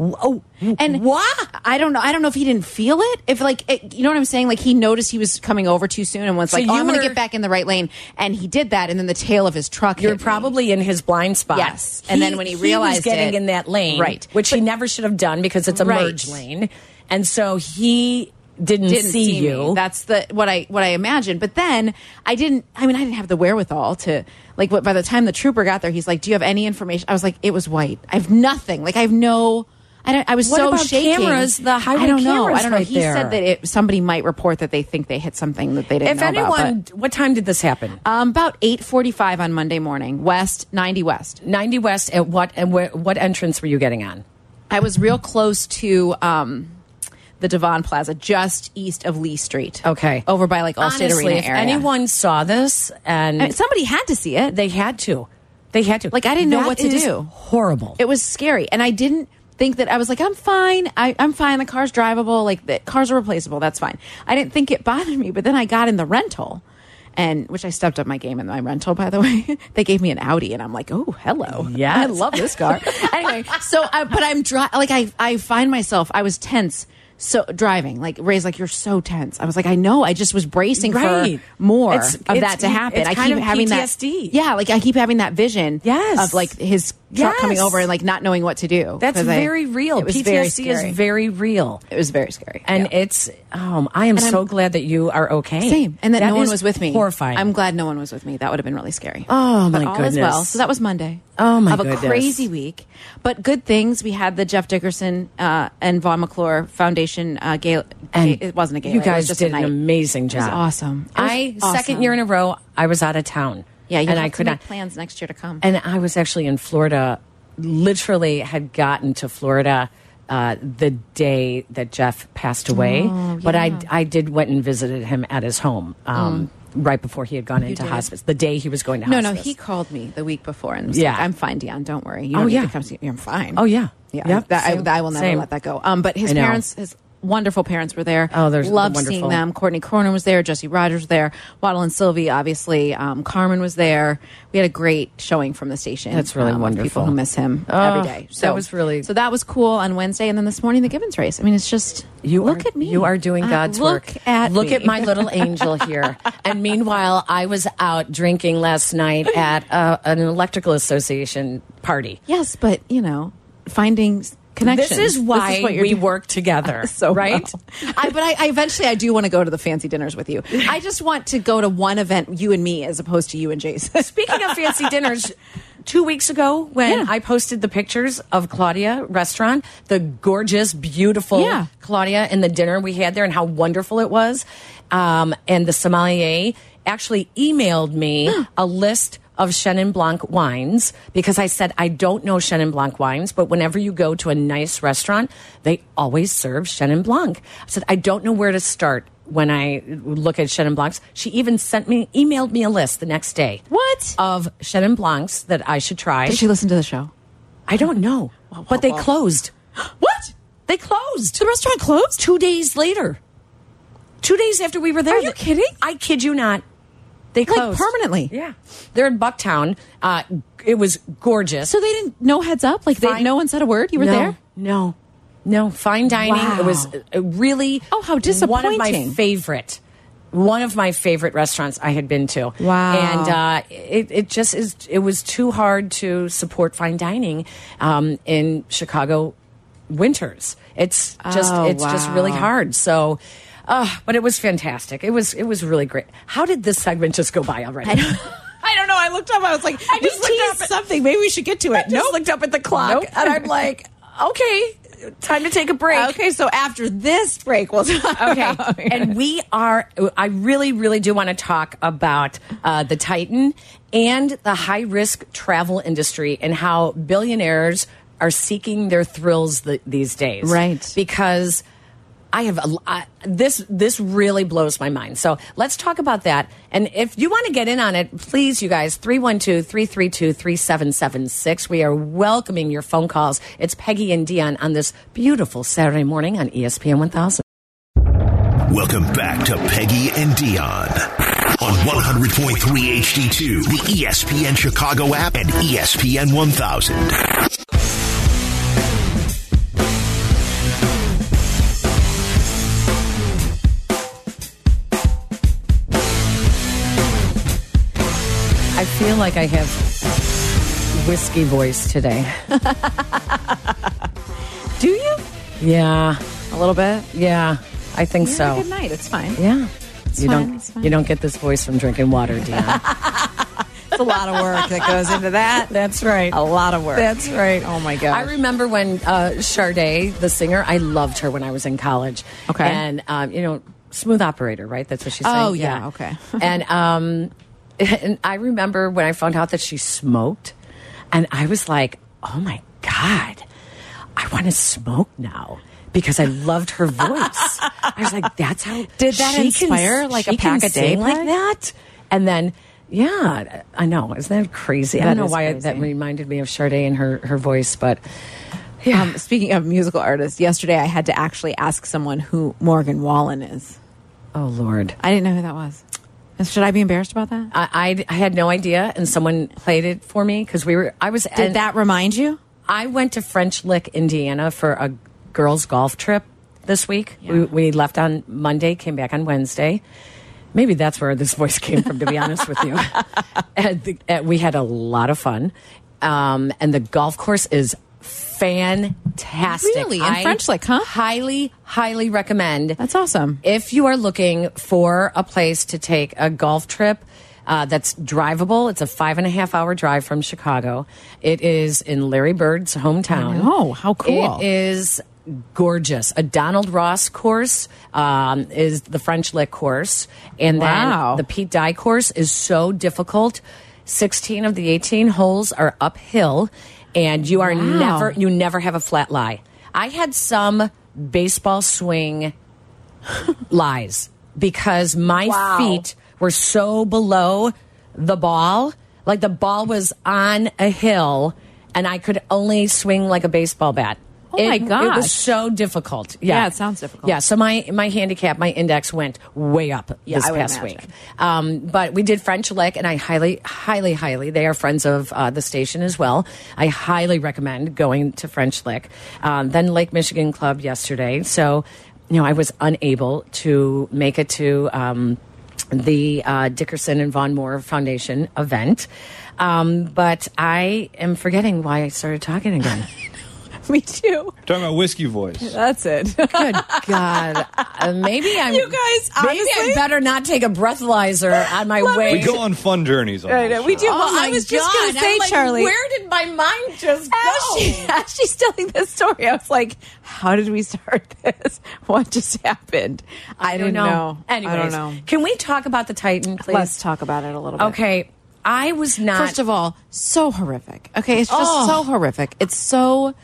[SPEAKER 4] oh,
[SPEAKER 7] And
[SPEAKER 4] what?
[SPEAKER 7] I don't know. I don't know if he didn't feel it. If like it, you know what I'm saying? Like he noticed he was coming over too soon and was
[SPEAKER 4] So
[SPEAKER 7] like, "Oh,
[SPEAKER 4] you
[SPEAKER 7] I'm going
[SPEAKER 4] were-
[SPEAKER 7] to get back in the right lane," and he did that. And then the tail of his truck.
[SPEAKER 4] You're
[SPEAKER 7] hit me.
[SPEAKER 4] probably in his blind spot.
[SPEAKER 7] Yes. And then when he realized
[SPEAKER 4] was getting
[SPEAKER 7] it-
[SPEAKER 4] in that lane,
[SPEAKER 7] Right.
[SPEAKER 4] which he never should have done because it's a
[SPEAKER 7] Right.
[SPEAKER 4] merge lane, and so he didn't,
[SPEAKER 7] didn't see,
[SPEAKER 4] you.
[SPEAKER 7] you. That's the what I what I imagined. But then I didn't. I mean, I didn't have the wherewithal to like. What by the time the trooper got there, he's like, "Do you have any information?" I was like, "It was white. I have nothing. Like I have no." I don't. I was
[SPEAKER 4] What
[SPEAKER 7] so
[SPEAKER 4] about
[SPEAKER 7] shaking.
[SPEAKER 4] cameras? The highway
[SPEAKER 7] I don't know.
[SPEAKER 4] cameras
[SPEAKER 7] I don't know.
[SPEAKER 4] right
[SPEAKER 7] he
[SPEAKER 4] there.
[SPEAKER 7] said that it, somebody might report that they think they hit something that they didn't.
[SPEAKER 4] if
[SPEAKER 7] know about,
[SPEAKER 4] anyone, what time did this happen?
[SPEAKER 7] but, um, about eight forty-five on Monday morning, West ninety West.
[SPEAKER 4] 90 West. At what and where, what entrance were you getting on?
[SPEAKER 7] I was real close to. Um, the Devon Plaza, just east of Lee Street.
[SPEAKER 4] Okay.
[SPEAKER 7] over by like Allstate
[SPEAKER 4] Honestly,
[SPEAKER 7] Arena
[SPEAKER 4] if
[SPEAKER 7] area.
[SPEAKER 4] anyone saw this and
[SPEAKER 7] I mean, somebody had to see it.
[SPEAKER 4] they had to, they had to.
[SPEAKER 7] Like, I didn't know
[SPEAKER 4] That
[SPEAKER 7] what to
[SPEAKER 4] is
[SPEAKER 7] do.
[SPEAKER 4] Horrible.
[SPEAKER 7] it was scary and i didn't think that i was like i'm fine I, i'm fine the car's drivable like the cars are replaceable that's fine i didn't think it bothered me but then i got in the rental and which i stepped up my game in my rental by the way they gave me an audi and i'm like oh hello
[SPEAKER 4] Yes.
[SPEAKER 7] i love this car anyway so I, but i'm dri- like I, I find myself i was tense so driving like ray's like you're so tense i was like i know i just was bracing
[SPEAKER 4] Right.
[SPEAKER 7] for more
[SPEAKER 4] It's-
[SPEAKER 7] of
[SPEAKER 4] it's-
[SPEAKER 7] that to happen
[SPEAKER 4] it's
[SPEAKER 7] i keep
[SPEAKER 4] kind of
[SPEAKER 7] having
[SPEAKER 4] PTSD.
[SPEAKER 7] that yeah like i keep having that vision
[SPEAKER 4] Yes.
[SPEAKER 7] of like his truck coming
[SPEAKER 4] Yes.
[SPEAKER 7] over and like not knowing what to do
[SPEAKER 4] That's
[SPEAKER 7] 'cause I-
[SPEAKER 4] very real.
[SPEAKER 7] It was
[SPEAKER 4] PTSD
[SPEAKER 7] very scary.
[SPEAKER 4] is very real.
[SPEAKER 7] It was very scary.
[SPEAKER 4] And
[SPEAKER 7] Yeah.
[SPEAKER 4] it's, um, I am
[SPEAKER 7] And I'm-
[SPEAKER 4] so glad that you are okay.
[SPEAKER 7] same. And that, no one
[SPEAKER 4] is
[SPEAKER 7] was with me.
[SPEAKER 4] Horrifying.
[SPEAKER 7] I'm glad no one was with me. That would have been really scary.
[SPEAKER 4] Oh,
[SPEAKER 7] but
[SPEAKER 4] my
[SPEAKER 7] all Is
[SPEAKER 4] goodness.
[SPEAKER 7] well. So that was Monday.
[SPEAKER 4] Oh, my
[SPEAKER 7] Of a
[SPEAKER 4] goodness.
[SPEAKER 7] crazy week, but good things. We had the Jeff Dickerson uh, and Vaughn McClure Foundation. Uh, gala,
[SPEAKER 4] And
[SPEAKER 7] it wasn't a gala.
[SPEAKER 4] You
[SPEAKER 7] it
[SPEAKER 4] guys
[SPEAKER 7] was just
[SPEAKER 4] did
[SPEAKER 7] a night.
[SPEAKER 4] an amazing
[SPEAKER 7] It was
[SPEAKER 4] job.
[SPEAKER 7] awesome. It was
[SPEAKER 4] I
[SPEAKER 7] awesome.
[SPEAKER 4] second year in a row, I was out of town.
[SPEAKER 7] Yeah, you
[SPEAKER 4] and
[SPEAKER 7] have
[SPEAKER 4] I
[SPEAKER 7] to
[SPEAKER 4] could
[SPEAKER 7] make
[SPEAKER 4] not.
[SPEAKER 7] plans next year to come.
[SPEAKER 4] And I was actually in Florida. Literally, had gotten to Florida uh, the day that Jeff passed away. But I, I did went and visited him at his home um, right before he had gone into
[SPEAKER 7] did?
[SPEAKER 4] hospice. The day he was going to
[SPEAKER 7] no,
[SPEAKER 4] hospice.
[SPEAKER 7] no, he called me the week before and was
[SPEAKER 4] Yeah.
[SPEAKER 7] like, "I'm fine, Dion. Don't worry. You
[SPEAKER 4] Oh,
[SPEAKER 7] don't need
[SPEAKER 4] yeah.
[SPEAKER 7] to come see me. I'm fine.
[SPEAKER 4] Oh, yeah.
[SPEAKER 7] yeah.
[SPEAKER 4] Yep.
[SPEAKER 7] That, I,
[SPEAKER 4] Same.
[SPEAKER 7] that I will never
[SPEAKER 4] Same.
[SPEAKER 7] let that go. Um, but his
[SPEAKER 4] I know.
[SPEAKER 7] parents, his wonderful parents, were there.
[SPEAKER 4] Oh, they're
[SPEAKER 7] loved
[SPEAKER 4] wonderful.
[SPEAKER 7] seeing them. Courtney Corner was there. Jesse Rogers was there. Waddle and Sylvie, obviously. Um, Carmen was there. We had a great showing from the station.
[SPEAKER 4] That's really
[SPEAKER 7] um, of
[SPEAKER 4] wonderful.
[SPEAKER 7] People who miss him
[SPEAKER 4] Oh,
[SPEAKER 7] every day.
[SPEAKER 4] that was really-
[SPEAKER 7] so. That was cool on Wednesday, and then this morning the Gibbons race. I mean, it's just
[SPEAKER 4] You
[SPEAKER 7] look
[SPEAKER 4] are,
[SPEAKER 7] at me.
[SPEAKER 4] You are doing
[SPEAKER 7] Uh,
[SPEAKER 4] God's
[SPEAKER 7] look
[SPEAKER 4] work.
[SPEAKER 7] At
[SPEAKER 4] look
[SPEAKER 7] me.
[SPEAKER 4] at my little angel here. and meanwhile, I was out drinking last night at uh, an electrical association party.
[SPEAKER 7] Yes, but you know, finding s- connections.
[SPEAKER 4] This is why
[SPEAKER 7] what you're
[SPEAKER 4] we
[SPEAKER 7] doing.
[SPEAKER 4] work together,
[SPEAKER 7] so
[SPEAKER 4] right?
[SPEAKER 7] well. I, but I, I eventually I do want to go to the fancy dinners with you. I just want to go to one event, you and me, as opposed to you and Jason.
[SPEAKER 4] Speaking of fancy dinners, two weeks ago when
[SPEAKER 7] Yeah.
[SPEAKER 4] I posted the pictures of Claudia restaurant, the gorgeous, beautiful
[SPEAKER 7] Yeah.
[SPEAKER 4] Claudia and the dinner we had there and how wonderful it was, um, and the sommelier actually emailed me a list of Chenin Blanc wines because I said I don't know Chenin Blanc wines, but whenever you go to a nice restaurant, they always serve Chenin Blanc. I said I don't know where to start when I look at Chenin Blancs. She even sent me emailed me a list the next day
[SPEAKER 7] What?
[SPEAKER 4] of Chenin Blancs that I should try.
[SPEAKER 7] Did she listen to the show?
[SPEAKER 4] I don't know, but they closed.
[SPEAKER 7] What?
[SPEAKER 4] They closed. The restaurant closed two days later. Two days after we were there.
[SPEAKER 7] Are you kidding?
[SPEAKER 4] I kid you not. They
[SPEAKER 7] Like,
[SPEAKER 4] closed
[SPEAKER 7] permanently?
[SPEAKER 4] Yeah, they're in Bucktown. Uh, it was gorgeous.
[SPEAKER 7] So they didn't no heads up. Like they,
[SPEAKER 4] Fine.
[SPEAKER 7] no one said a word. You were
[SPEAKER 4] no,
[SPEAKER 7] there.
[SPEAKER 4] No, no. Fine dining. It was
[SPEAKER 7] Wow.
[SPEAKER 4] uh, really.
[SPEAKER 7] Oh, how
[SPEAKER 4] One of my
[SPEAKER 7] disappointing.
[SPEAKER 4] favorite. One of my favorite restaurants I had been to.
[SPEAKER 7] Wow.
[SPEAKER 4] And uh, it, it just is. It was too hard to support fine dining um, in Chicago winters. It's just.
[SPEAKER 7] Oh,
[SPEAKER 4] it's just really
[SPEAKER 7] wow.
[SPEAKER 4] hard. So. Uh, but it was fantastic. It was it was really great. How did this segment just go by already?
[SPEAKER 7] I don't know. I looked up. I was like, I
[SPEAKER 4] just looked up at-
[SPEAKER 7] something. Maybe we should get to it.
[SPEAKER 4] I just looked up at the clock
[SPEAKER 7] Nope.
[SPEAKER 4] and I'm like, okay, time to take a break.
[SPEAKER 9] Okay, so after this break, we'll talk.
[SPEAKER 4] Okay.
[SPEAKER 9] about-
[SPEAKER 4] and we are, I really, really do want to talk about uh, the Titan and the high risk travel industry and how billionaires are seeking their thrills th these days.
[SPEAKER 9] Right.
[SPEAKER 4] Because I have a l I this this really blows my mind. So let's talk about that. And if you want to get in on it, please you guys 312-332-3776. We are welcoming your phone calls. It's Peggy and Dion on this beautiful Saturday morning on E ESPN 1000.
[SPEAKER 1] Welcome back to Peggy and Dion on 100.3 HD2, the E ESPN Chicago app and E ESPN 1000.
[SPEAKER 4] I feel like I have whiskey voice today.
[SPEAKER 9] do you
[SPEAKER 4] Yeah,
[SPEAKER 9] a little bit?
[SPEAKER 4] yeah, I think
[SPEAKER 9] You had a
[SPEAKER 4] so.
[SPEAKER 9] good night. It's fine.
[SPEAKER 4] Yeah, you
[SPEAKER 9] fine, it's
[SPEAKER 4] don't
[SPEAKER 9] fine.
[SPEAKER 4] you don't get this voice from drinking water, Dion.
[SPEAKER 9] It's a lot of work that goes into that.
[SPEAKER 4] That's right.
[SPEAKER 9] A lot of work.
[SPEAKER 4] That's right.
[SPEAKER 9] Oh my gosh.
[SPEAKER 4] I remember when uh, Sade, the singer, I loved her when I was in college.
[SPEAKER 9] Okay.
[SPEAKER 4] and um, you know, smooth operator, right? That's what she's saying.
[SPEAKER 9] Oh, yeah, okay.
[SPEAKER 4] and um, and I remember when I found out that she smoked, and I was like, oh my god, I want to smoke now. Because I loved her voice, I was like, "That's how
[SPEAKER 9] Did that
[SPEAKER 4] she can-
[SPEAKER 9] inspire, like, a
[SPEAKER 4] she can
[SPEAKER 9] pack a day
[SPEAKER 4] sing like
[SPEAKER 9] pack?
[SPEAKER 4] that?" And then, yeah, I know. Isn't that crazy? I don't
[SPEAKER 9] That
[SPEAKER 4] know
[SPEAKER 9] is
[SPEAKER 4] why I- that
[SPEAKER 9] crazy.
[SPEAKER 4] reminded me of Sade and her her voice, but
[SPEAKER 9] Um, speaking of musical artists, yesterday I had to actually ask someone who Morgan Wallen is.
[SPEAKER 4] oh lord,
[SPEAKER 9] I didn't know who that was. And Should I be embarrassed about that?
[SPEAKER 4] I I, I had no idea, and someone played it for me because we were. I was
[SPEAKER 9] Did
[SPEAKER 4] and
[SPEAKER 9] that remind you?
[SPEAKER 4] I went to French Lick, Indiana, for a girls' golf trip this week. We, we left on Monday, came back on Wednesday. Maybe that's where this voice came from, to be honest with you. And the- and we had a lot of fun, um, and the golf course is fantastic.
[SPEAKER 9] Really? In
[SPEAKER 4] I
[SPEAKER 9] French Lick, huh?
[SPEAKER 4] Highly, highly recommend.
[SPEAKER 9] That's awesome.
[SPEAKER 4] If you are looking for a place to take a golf trip uh, that's drivable, it's a five and a half hour drive from Chicago. It is in Larry Bird's hometown.
[SPEAKER 9] Oh, how cool.
[SPEAKER 4] It is gorgeous. A Donald Ross course um, is the French Lick course. And then
[SPEAKER 9] Wow.
[SPEAKER 4] the Pete Dye course is so difficult. 16 of the 18 holes are uphill, and you are
[SPEAKER 9] Wow.
[SPEAKER 4] never, you never have a flat lie. I had some baseball swing lies because my feet were so below the ball. Like the ball was on a hill and I could only swing like a baseball bat.
[SPEAKER 9] Oh my
[SPEAKER 4] It- It
[SPEAKER 9] gosh.
[SPEAKER 4] was so difficult. Yeah.
[SPEAKER 9] Yeah, it sounds difficult.
[SPEAKER 4] Yeah, so my my handicap, my index went way up
[SPEAKER 9] Yeah,
[SPEAKER 4] this
[SPEAKER 9] I would
[SPEAKER 4] past
[SPEAKER 9] imagine.
[SPEAKER 4] week. Um, but we did French Lick, and I highly, highly, highly, they are friends of uh, the station as well. I highly recommend going to French Lick. Um, then Lake Michigan Club yesterday. So, you know, I was unable to make it to um, the uh, Dickerson and Von Moore Foundation event. Um, but I am forgetting why I started talking again.
[SPEAKER 9] Me too.
[SPEAKER 8] Talking about whiskey voice.
[SPEAKER 9] That's it.
[SPEAKER 4] Good God. Uh, maybe I'm.
[SPEAKER 9] You guys,
[SPEAKER 4] Maybe I
[SPEAKER 9] honestly-
[SPEAKER 4] better not take a breathalyzer on my way.
[SPEAKER 8] We go on fun journeys. On this
[SPEAKER 9] we do.
[SPEAKER 8] show.
[SPEAKER 4] Oh
[SPEAKER 9] well,
[SPEAKER 4] my
[SPEAKER 9] I was just going to
[SPEAKER 4] God.
[SPEAKER 9] say,
[SPEAKER 4] I'm like,
[SPEAKER 9] Charlie.
[SPEAKER 4] Where did my mind just
[SPEAKER 9] as,
[SPEAKER 4] go?
[SPEAKER 9] she, as she's telling this story, I was like, how did we start this? What just happened? I,
[SPEAKER 4] I don't
[SPEAKER 9] didn't
[SPEAKER 4] know.
[SPEAKER 9] I don't
[SPEAKER 4] Anyways,
[SPEAKER 9] know.
[SPEAKER 4] can we talk about the Titan, please?
[SPEAKER 9] Let's talk about it a little bit.
[SPEAKER 4] Okay, I was not.
[SPEAKER 9] First of all, so horrific. Okay, it's just
[SPEAKER 4] Oh.
[SPEAKER 9] so horrific. It's so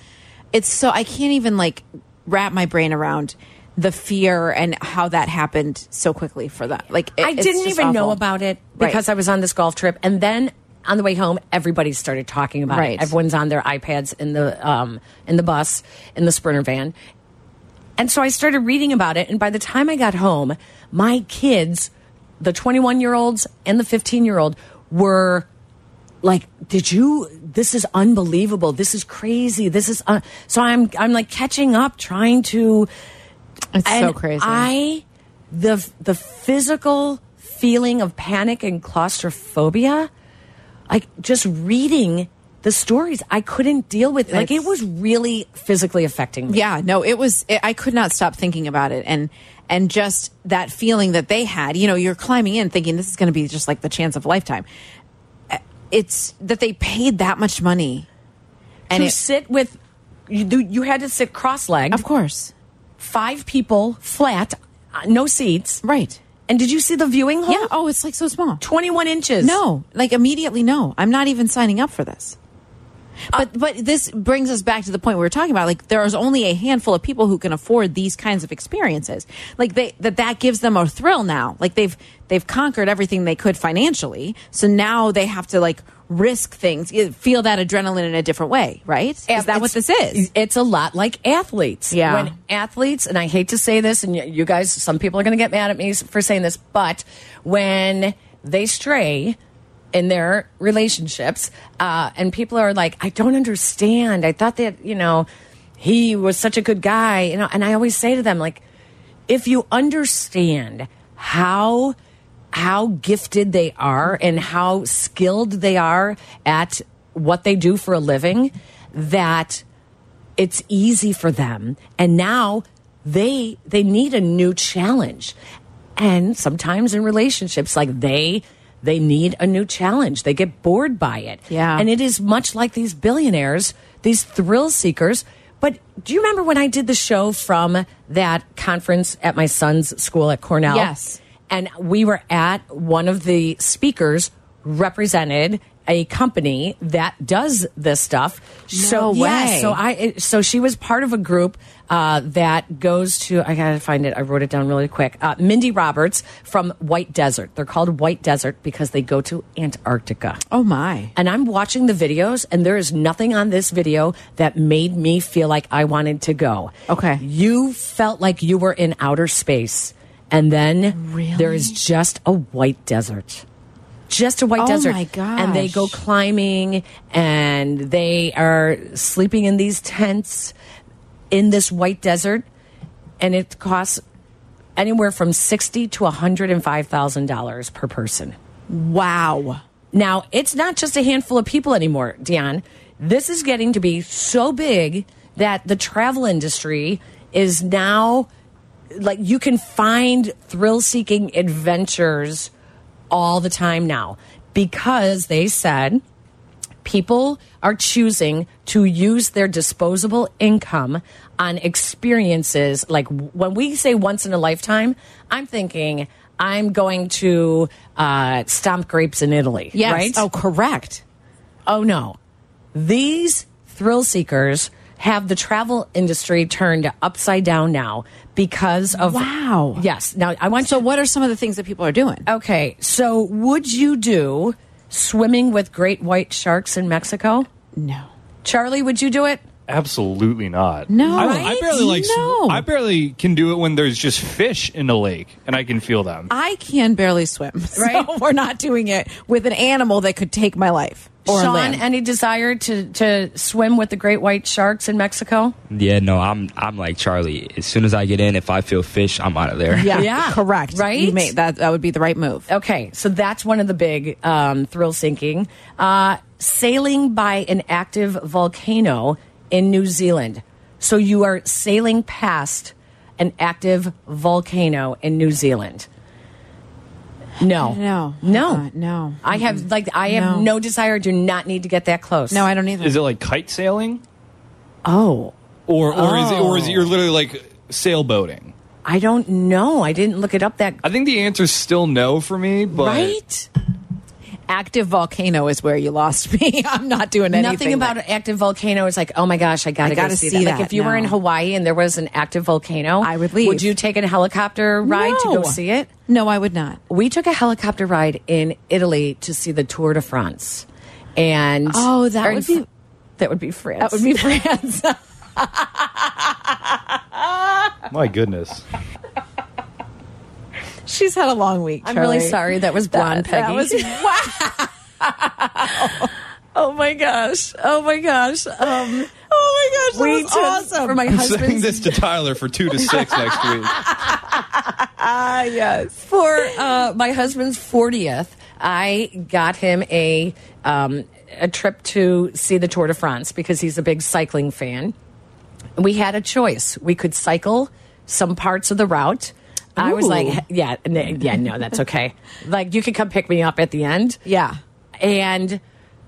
[SPEAKER 9] it's so I can't even like wrap my brain around the fear and how that happened so quickly for that. Like it-
[SPEAKER 4] I
[SPEAKER 9] it's
[SPEAKER 4] didn't
[SPEAKER 9] just
[SPEAKER 4] even know
[SPEAKER 9] awful.
[SPEAKER 4] about it
[SPEAKER 9] Right.
[SPEAKER 4] because I was on this golf trip, and then on the way home, everybody started talking about
[SPEAKER 9] Right.
[SPEAKER 4] it. Everyone's on their iPads in the um, in the bus in the sprinter van, and so I started reading about it. And by the time I got home, my kids, the 21 year olds and the 15 year old, were like did you this is unbelievable this is crazy this is un so i'm i'm like catching up trying to
[SPEAKER 9] It's so
[SPEAKER 4] and
[SPEAKER 9] crazy.
[SPEAKER 4] I the the physical feeling of panic and claustrophobia, like just reading the stories, I couldn't deal with. Like it
[SPEAKER 9] It's-
[SPEAKER 4] was really physically affecting me.
[SPEAKER 9] Yeah, no, it was. It, I could not stop thinking about it, and and just that feeling that they had. You know, you're climbing in thinking this is going to be just like the chance of a lifetime. Uh, It's that they paid that much money, and
[SPEAKER 4] to
[SPEAKER 9] it,
[SPEAKER 4] sit with you, do- you had to sit cross-legged.
[SPEAKER 9] Of course.
[SPEAKER 4] Five people flat, uh, no seats.
[SPEAKER 9] Right.
[SPEAKER 4] And did you see the viewing hall?
[SPEAKER 9] Yeah. Oh, it's like so small.
[SPEAKER 4] 21 inches.
[SPEAKER 9] No, like immediately, no. I'm not even signing up for this. But but this brings us back to the point we were talking about. Like there is only a handful of people who can afford these kinds of experiences. Like they that that gives them a thrill now. Like they've they've conquered everything they could financially, so now they have to like risk things, eh, feel that adrenaline in a different way. Right? Is that what
[SPEAKER 4] It's-
[SPEAKER 9] this is?
[SPEAKER 4] It's a lot like athletes.
[SPEAKER 9] Yeah.
[SPEAKER 4] When athletes, and I hate to say this, and y- you guys, some people are going to get mad at me s- for saying this, but when they stray in their relationships, uh, and people are like, I don't understand. I thought that, you know, he was such a good guy. You know, and I always say to them, like, if you understand how how gifted they are and how skilled they are at what they do for a living that it's easy for them and now they they need a new challenge and sometimes in relationships like they they need a new challenge they get bored by it
[SPEAKER 9] Yeah.
[SPEAKER 4] and it is much like these billionaires these thrill seekers but do you remember when i did the show from that conference at my son's school at cornell
[SPEAKER 9] Yes.
[SPEAKER 4] and we were at one of the speakers represented a company that does this stuff. so
[SPEAKER 9] No
[SPEAKER 4] yeah,
[SPEAKER 9] way.
[SPEAKER 4] so I it- so she was part of a group uh, that goes to I gotta find it. I wrote it down really quick. Uh, Mindy Roberts from White Desert. They're called White Desert because they go to Antarctica.
[SPEAKER 9] oh my!
[SPEAKER 4] And I'm watching the videos, and there is nothing on this video that made me feel like I wanted to go.
[SPEAKER 9] Okay.
[SPEAKER 4] You felt like you were in outer space. And then there is just a white desert. Just a white
[SPEAKER 9] Oh
[SPEAKER 4] desert.
[SPEAKER 9] my
[SPEAKER 4] And they go
[SPEAKER 9] gosh.
[SPEAKER 4] climbing and they are sleeping in these tents in this white desert. And it costs anywhere from sixty to $105,000 per person.
[SPEAKER 9] Wow.
[SPEAKER 4] Now, it's not just a handful of people anymore, Dion. This is getting to be so big that the travel industry is now like you can find thrill seeking adventures all the time now because they said people are choosing to use their disposable income on experiences like when we say once in a lifetime i'm thinking i'm going to uh, stomp grapes in italy
[SPEAKER 9] Yes.
[SPEAKER 4] right
[SPEAKER 9] Oh, correct.
[SPEAKER 4] oh no these thrill seekers have the travel industry turned upside down now because of
[SPEAKER 9] Wow.
[SPEAKER 4] yes now i want
[SPEAKER 9] So,
[SPEAKER 4] you
[SPEAKER 9] what are some of the things that people are doing?
[SPEAKER 4] okay so would you do swimming with great white sharks in mexico
[SPEAKER 9] no.
[SPEAKER 4] charlie would you do it
[SPEAKER 10] Absolutely not.
[SPEAKER 9] No.
[SPEAKER 8] I,
[SPEAKER 9] right?
[SPEAKER 8] I barely like. sw-
[SPEAKER 9] No.
[SPEAKER 8] I barely can do it when there's just fish in the lake, and I can feel them.
[SPEAKER 9] I can barely swim. Right?
[SPEAKER 4] Right.
[SPEAKER 9] we're not doing it with an animal that could take my life. Or a
[SPEAKER 4] Sean,
[SPEAKER 9] limb.
[SPEAKER 4] any desire to, to swim with the great white sharks in Mexico?
[SPEAKER 6] Yeah, no, I'm I'm like Charlie. As soon as I get in, if I feel fish, I'm out of there.
[SPEAKER 9] yeah,
[SPEAKER 4] Yeah.
[SPEAKER 9] correct.
[SPEAKER 4] Right?
[SPEAKER 9] You may, that that would be the right move.
[SPEAKER 4] Okay, so that's one of the big um, thrill sinking. Uh, sailing by an active volcano in New Zealand. So you are sailing past an active volcano in New Zealand. No.
[SPEAKER 9] No.
[SPEAKER 4] No.
[SPEAKER 9] Uh, no.
[SPEAKER 4] I have like I have
[SPEAKER 9] No.
[SPEAKER 4] no desire do not need to get that close.
[SPEAKER 9] No, I don't either.
[SPEAKER 8] Is it like kite sailing,
[SPEAKER 4] Oh.
[SPEAKER 8] or or is it or is it you're literally like sailboating?
[SPEAKER 4] I don't know. I didn't look it up that
[SPEAKER 8] I think the answer's still no for me, but
[SPEAKER 4] right.
[SPEAKER 9] Active volcano is where you lost me. I'm not doing anything.
[SPEAKER 4] Nothing about
[SPEAKER 9] like-
[SPEAKER 4] an active volcano is like, oh my gosh, I gotta,
[SPEAKER 9] I gotta
[SPEAKER 4] go see,
[SPEAKER 9] see
[SPEAKER 4] that.
[SPEAKER 9] that
[SPEAKER 4] Like if you were in
[SPEAKER 9] now.
[SPEAKER 4] Hawaii and there was an active volcano,
[SPEAKER 9] I would leave.
[SPEAKER 4] Would you take a helicopter ride to go
[SPEAKER 9] No.
[SPEAKER 4] see it?
[SPEAKER 9] No, I would not.
[SPEAKER 4] We took a helicopter ride in Italy to see the Tour de France, and
[SPEAKER 9] Oh, that
[SPEAKER 4] or in
[SPEAKER 9] would be-
[SPEAKER 4] Fr- that would be France.
[SPEAKER 9] That would be France.
[SPEAKER 10] My goodness.
[SPEAKER 9] She's had a long week.
[SPEAKER 4] I'm really
[SPEAKER 9] Charlie.
[SPEAKER 4] sorry. That was blonde
[SPEAKER 9] That
[SPEAKER 4] Peggy.
[SPEAKER 9] was wow.
[SPEAKER 4] oh my gosh! Oh my gosh! Um,
[SPEAKER 9] Oh my gosh, that
[SPEAKER 4] we
[SPEAKER 9] was
[SPEAKER 4] took
[SPEAKER 9] awesome.
[SPEAKER 4] for my
[SPEAKER 8] I'm saying
[SPEAKER 4] husband's
[SPEAKER 8] this to Tyler for two to six next week.
[SPEAKER 9] Ah, yes.
[SPEAKER 4] for uh, my husband's 40th, I got him a um, a trip to see the Tour de France because he's a big cycling fan. We had a choice. We could cycle some parts of the route. I was
[SPEAKER 9] Ooh.
[SPEAKER 4] like, yeah, n- yeah, no, that's okay. like you could come pick me up at the end.
[SPEAKER 9] Yeah.
[SPEAKER 4] And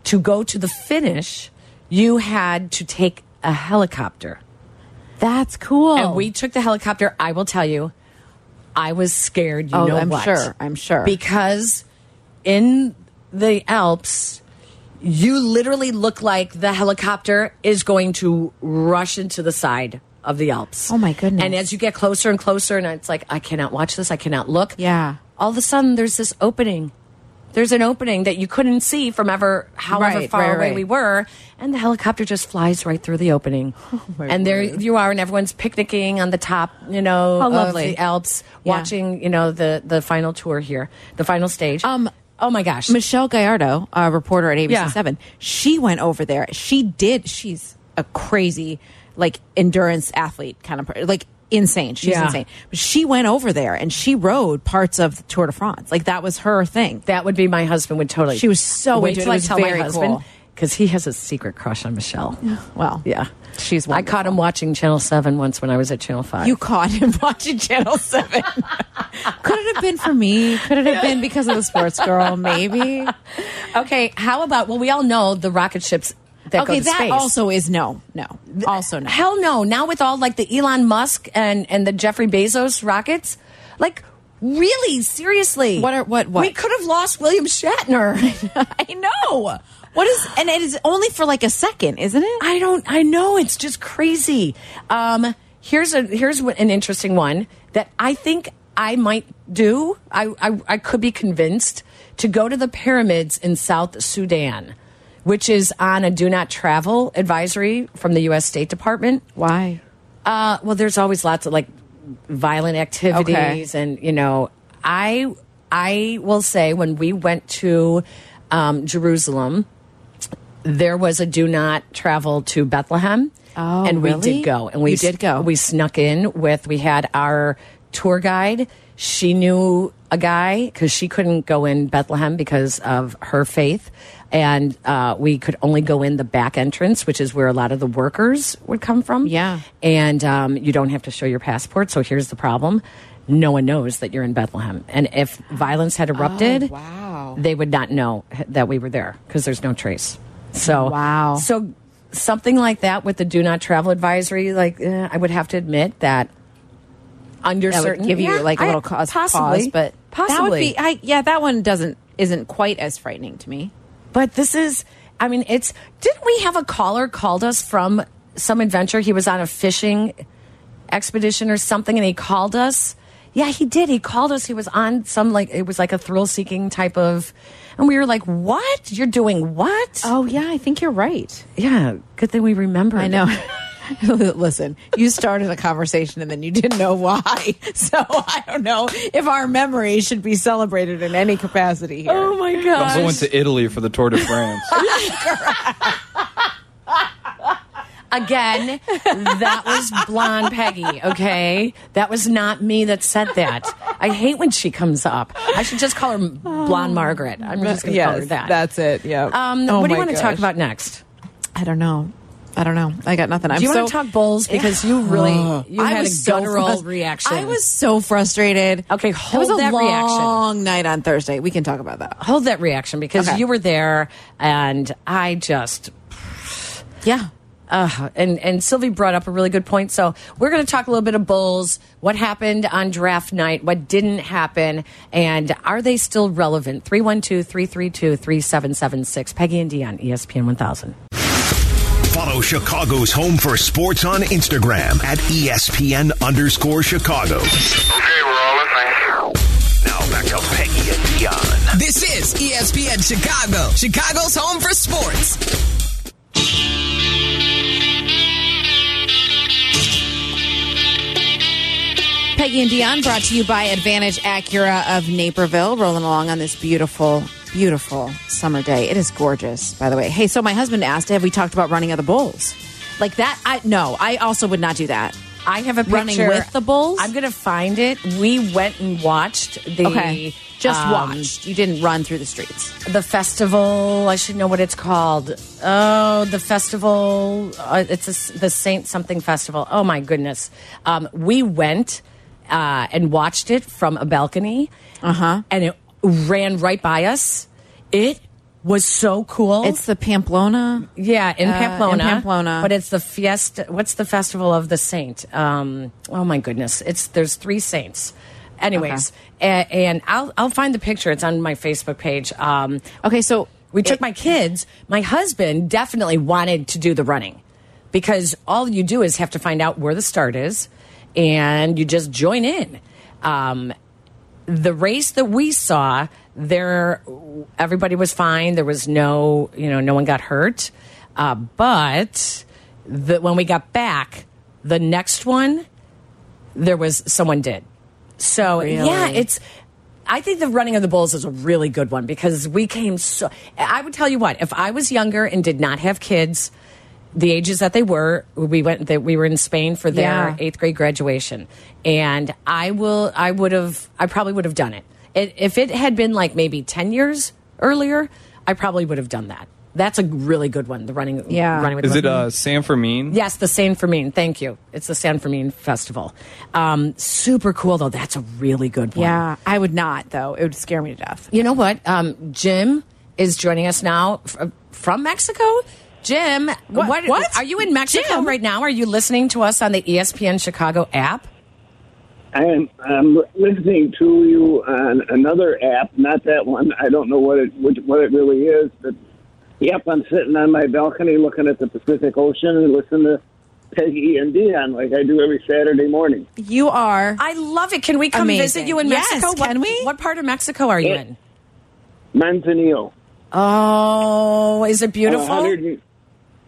[SPEAKER 4] to go to the finish, you had to take a helicopter.
[SPEAKER 9] That's cool.
[SPEAKER 4] And we took the helicopter. I will tell you, I was scared. You
[SPEAKER 9] Oh,
[SPEAKER 4] know
[SPEAKER 9] I'm
[SPEAKER 4] what?
[SPEAKER 9] sure. I'm sure.
[SPEAKER 4] Because in the Alps, you literally look like the helicopter is going to rush into the side of the Alps.
[SPEAKER 9] Oh, my goodness.
[SPEAKER 4] And as you get closer and closer, and it's like, I cannot watch this. I cannot look.
[SPEAKER 9] Yeah.
[SPEAKER 4] All of a sudden, there's this opening. There's an opening that you couldn't see from ever, however
[SPEAKER 9] Right,
[SPEAKER 4] far
[SPEAKER 9] right,
[SPEAKER 4] away
[SPEAKER 9] right.
[SPEAKER 4] we were, and the helicopter just flies right through the opening.
[SPEAKER 9] Oh my
[SPEAKER 4] and there
[SPEAKER 9] word.
[SPEAKER 4] you are, and everyone's picnicking on the top, you know,
[SPEAKER 9] How
[SPEAKER 4] of
[SPEAKER 9] lovely.
[SPEAKER 4] the Alps,
[SPEAKER 9] Yeah.
[SPEAKER 4] watching, you know, the the final tour here, the final stage.
[SPEAKER 9] Um,
[SPEAKER 4] oh my gosh,
[SPEAKER 9] Michelle Gallardo, a reporter at ABC
[SPEAKER 4] Yeah.
[SPEAKER 9] Seven, she went over there. She did. She's a crazy, like endurance athlete kind of per- like insane. She's
[SPEAKER 4] Yeah.
[SPEAKER 9] insane. But she went over there and she rode parts of the Tour de France. Like that was her thing.
[SPEAKER 4] that would be my husband. Would totally.
[SPEAKER 9] She was so
[SPEAKER 4] wait
[SPEAKER 9] into it.
[SPEAKER 4] till
[SPEAKER 9] It
[SPEAKER 4] I
[SPEAKER 9] was
[SPEAKER 4] tell my
[SPEAKER 9] very
[SPEAKER 4] husband
[SPEAKER 9] cool.
[SPEAKER 4] because he has a secret crush on Michelle.
[SPEAKER 9] Well,
[SPEAKER 4] Yeah,
[SPEAKER 9] she's.
[SPEAKER 4] I caught him
[SPEAKER 9] wonderful.
[SPEAKER 4] watching Channel Seven once when I was at Channel Five.
[SPEAKER 9] You caught him watching Channel Seven. Could it have been for me? Could it have been because of the sports girl? Maybe.
[SPEAKER 4] okay? How about? Well, we all know the rocket ships that go
[SPEAKER 9] okay,
[SPEAKER 4] to
[SPEAKER 9] that
[SPEAKER 4] space.
[SPEAKER 9] also is no, no, also no.
[SPEAKER 4] Hell no. Now with all like the Elon Musk and and the Jeffrey Bezos rockets, like really seriously.
[SPEAKER 9] What are- what- what?
[SPEAKER 4] We could have lost William Shatner.
[SPEAKER 9] I know. What is and it is only for like a second, isn't it?
[SPEAKER 4] I don't I know it's just crazy. Um here's a here's what- an interesting one that I think I might do. I I I could be convinced to go to the pyramids in South Sudan, which is on a do not travel advisory from the US State Department.
[SPEAKER 9] Why?
[SPEAKER 4] Uh, well, there's always lots of like violent activities, and you know, I I will say when we went to um, Jerusalem, there was a do not travel to Bethlehem,
[SPEAKER 9] Oh,
[SPEAKER 4] and we
[SPEAKER 9] really?
[SPEAKER 4] did go, and we
[SPEAKER 9] You did go.
[SPEAKER 4] We snuck in with we had our tour guide. She knew a guy because she couldn't go in Bethlehem because of her faith. And uh, we could only go in the back entrance, which is where a lot of the workers would come from.
[SPEAKER 9] Yeah.
[SPEAKER 4] And um, you don't have to show your passport. So here's the problem no one knows that you're in Bethlehem. And if violence had erupted,
[SPEAKER 9] Oh, wow.
[SPEAKER 4] they would not know that we were there because there's no trace. So,
[SPEAKER 9] Wow.
[SPEAKER 4] So, something like that with the do not travel advisory, like, eh, I would have to admit that under
[SPEAKER 9] That
[SPEAKER 4] certain
[SPEAKER 9] would give you
[SPEAKER 4] Yeah,
[SPEAKER 9] like a
[SPEAKER 4] I-
[SPEAKER 9] little cause,
[SPEAKER 4] possibly,
[SPEAKER 9] pause, but
[SPEAKER 4] possibly.
[SPEAKER 9] that would be. I yeah, that one doesn't isn't quite as frightening to me.
[SPEAKER 4] But this is, I mean, it's. Didn't we have a caller called us from some adventure? He was on a fishing expedition or something, and he called us. Yeah, he did. He called us. He was on some like it was like a thrill seeking type of, and we were like, "What? You're doing what?"
[SPEAKER 9] Oh yeah, I think you're right.
[SPEAKER 4] yeah. Good thing we remember.
[SPEAKER 9] I know. Listen, you started a conversation and then you didn't know why. So I don't know if our memory should be celebrated in any capacity here.
[SPEAKER 4] Oh my
[SPEAKER 8] I also went
[SPEAKER 4] gosh!
[SPEAKER 8] to Italy for the Tour de France.
[SPEAKER 4] Again, that was blonde Peggy. Okay, that was not me that said that. I hate when she comes up. I should just call her blonde Margaret. I'm just going to call her
[SPEAKER 9] Oh, Yes,
[SPEAKER 4] that.
[SPEAKER 9] that's it. Yeah.
[SPEAKER 4] Um,
[SPEAKER 9] Oh
[SPEAKER 4] what do you
[SPEAKER 9] my
[SPEAKER 4] want to talk
[SPEAKER 9] gosh.
[SPEAKER 4] about next?
[SPEAKER 9] I don't know. I don't know. I got nothing. I'm
[SPEAKER 4] Do you
[SPEAKER 9] so,
[SPEAKER 4] want to talk bowls because you really you
[SPEAKER 9] I
[SPEAKER 4] had a
[SPEAKER 9] was so
[SPEAKER 4] guttural
[SPEAKER 9] frus-
[SPEAKER 4] reaction.
[SPEAKER 9] I was so frustrated.
[SPEAKER 4] Okay,
[SPEAKER 9] it was
[SPEAKER 4] hold
[SPEAKER 9] a
[SPEAKER 4] that reaction.
[SPEAKER 9] long night on Thursday. We can talk about that.
[SPEAKER 4] hold that reaction because
[SPEAKER 9] Okay.
[SPEAKER 4] you were there, and I just
[SPEAKER 9] Yeah.
[SPEAKER 4] Uh, and and Sylvie brought up a really good point. So we're going to talk a little bit of bulls. What happened on draft night? What didn't happen? And are they still relevant? 312-332-3776. Peggy and Dion, E ESPN 1000.
[SPEAKER 1] Follow Chicago's Home for Sports on Instagram at E ESPN underscore Chicago.
[SPEAKER 11] Okay, we're all listening.
[SPEAKER 1] Now back to Peggy and Dion.
[SPEAKER 2] This is E ESPN Chicago, Chicago's home for sports.
[SPEAKER 9] Peggy and Dion brought to you by Advantage Acura of Naperville, rolling along on this beautiful, beautiful summer day. It is gorgeous, by the way. Hey, so my husband asked, have we talked about running of the bulls? Like that? I no. I also would not do that.
[SPEAKER 4] I have a picture.
[SPEAKER 9] Running with the bulls?
[SPEAKER 4] I'm going to find it. We went and watched the
[SPEAKER 9] Okay, just
[SPEAKER 4] um,
[SPEAKER 9] watched. You didn't run through the streets.
[SPEAKER 4] the festival. I should know what it's called. Oh, the festival. Uh, it's a s the Saint something festival. Oh my goodness. Um, we went uh, and watched it from a balcony. Uh huh. And it ran right by us. It was so cool.
[SPEAKER 7] It's the Pamplona.
[SPEAKER 4] yeah, in
[SPEAKER 7] uh, in
[SPEAKER 4] Pamplona.
[SPEAKER 7] Pamplona.
[SPEAKER 4] But it's the fiesta. What's the festival of the saint? Um, oh my goodness! It's there's three saints. Anyways, a- and I'll I'll find the picture. It's on my Facebook page. Um,
[SPEAKER 7] Okay, so
[SPEAKER 4] we took
[SPEAKER 7] it-
[SPEAKER 4] my kids. My husband definitely wanted to do the running because all you do is have to find out where the start is and you just join in. Um, the race that we saw, there everybody was fine. There was no, you know, no one got hurt. Uh, but the, when we got back, the next one, there was someone did. So yeah,
[SPEAKER 7] Really?
[SPEAKER 4] it's. I think the running of the bulls is a really good one because we came so. I would tell you what, if I was younger and did not have kids, the ages that they were, we went that we were in Spain for their
[SPEAKER 7] Yeah.
[SPEAKER 4] eighth grade graduation, and I will, I would have, I probably would have done it. it. If it had been like maybe ten years earlier, I probably would have done that. That's a really good one. The running,
[SPEAKER 7] Yeah.
[SPEAKER 4] running with
[SPEAKER 5] Is
[SPEAKER 4] the
[SPEAKER 5] it uh, San Fermin?
[SPEAKER 4] Yes, the San Fermin. Thank you. It's the San Fermin Festival. Um, super cool, though. That's a really good one.
[SPEAKER 7] Yeah, I would not though. It would scare me to death.
[SPEAKER 4] You know what? Um, Jim is joining us now f uh, from Mexico. Jim, what,
[SPEAKER 7] What?
[SPEAKER 4] Are you in Mexico
[SPEAKER 7] Jim?
[SPEAKER 4] right now? Are you listening to us on the E ESPN Chicago app?
[SPEAKER 9] I am I'm listening to you on another app, not that one. I don't know what it which, what it really is, but yep, I'm sitting on my balcony looking at the Pacific Ocean and listening to Peggy and Dion like I do every Saturday morning.
[SPEAKER 7] You are.
[SPEAKER 4] I love it. Can we come
[SPEAKER 7] Amazing.
[SPEAKER 4] visit you in
[SPEAKER 7] Yes,
[SPEAKER 4] Mexico? What-
[SPEAKER 7] can we?
[SPEAKER 4] What part of Mexico are you
[SPEAKER 9] Yeah.
[SPEAKER 4] in?
[SPEAKER 9] Manzanillo,
[SPEAKER 4] Oh, is it
[SPEAKER 9] a
[SPEAKER 4] beautiful?
[SPEAKER 9] hundred and-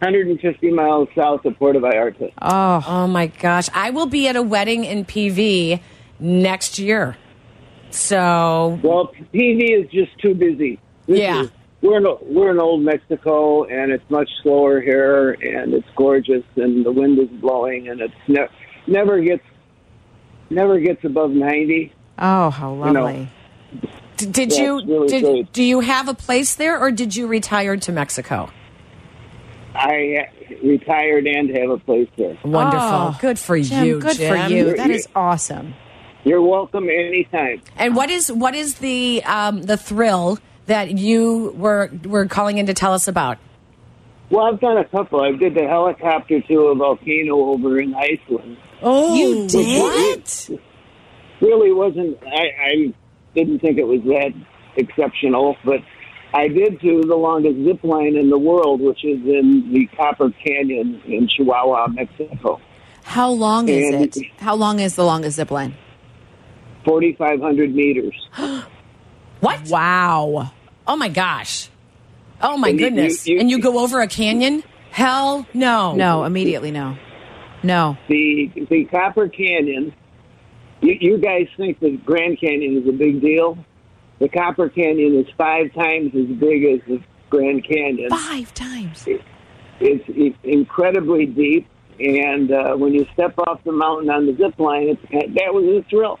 [SPEAKER 9] 150 miles south of Puerto Vallarta.
[SPEAKER 4] Oh my gosh. I will be at a wedding in PV next year. So,
[SPEAKER 9] Well, PV is just too busy.
[SPEAKER 4] Yeah.
[SPEAKER 9] is- we're in, we're in old Mexico, and it's much slower here, and it's gorgeous, and the wind is blowing, and it's ne- never gets never gets above ninety.
[SPEAKER 7] Oh, how lovely.
[SPEAKER 4] d- did
[SPEAKER 9] Yeah,
[SPEAKER 4] you
[SPEAKER 9] it's really
[SPEAKER 4] did,
[SPEAKER 9] great.
[SPEAKER 4] do you have a place there or did you retire to Mexico?
[SPEAKER 9] I uh, retired and have a place there.
[SPEAKER 4] Wonderful.
[SPEAKER 7] Oh,
[SPEAKER 4] good for
[SPEAKER 7] Jim,
[SPEAKER 4] you.
[SPEAKER 7] Good
[SPEAKER 4] Jim.
[SPEAKER 7] for you. That is awesome.
[SPEAKER 9] You're welcome anytime.
[SPEAKER 4] And what is what is the um, the thrill that you were were calling in to tell us about?
[SPEAKER 9] Well, I've done a couple. I did the helicopter to a volcano over in Iceland.
[SPEAKER 4] Oh,
[SPEAKER 7] You did?
[SPEAKER 4] What?
[SPEAKER 9] really wasn't. I, I didn't think it was that exceptional, but I did do the longest zip line in the world, which is in the Copper Canyon in Chihuahua, Mexico,
[SPEAKER 7] How long is
[SPEAKER 9] And-
[SPEAKER 7] it? How long is the longest zip line?
[SPEAKER 9] forty five hundred meters.
[SPEAKER 4] What?
[SPEAKER 7] Wow.
[SPEAKER 4] Oh my gosh. Oh my
[SPEAKER 9] And you-
[SPEAKER 4] goodness.
[SPEAKER 9] you- you-
[SPEAKER 4] and you go over a canyon? Hell no.
[SPEAKER 7] No, immediately no. No.
[SPEAKER 9] The the Copper Canyon. You, you guys think the Grand Canyon is a big deal? The Copper Canyon is five times as big as the Grand Canyon.
[SPEAKER 7] Five times.
[SPEAKER 9] It's, it's incredibly deep, and uh, when you step off the mountain on the zip line, it's, that was a thrill.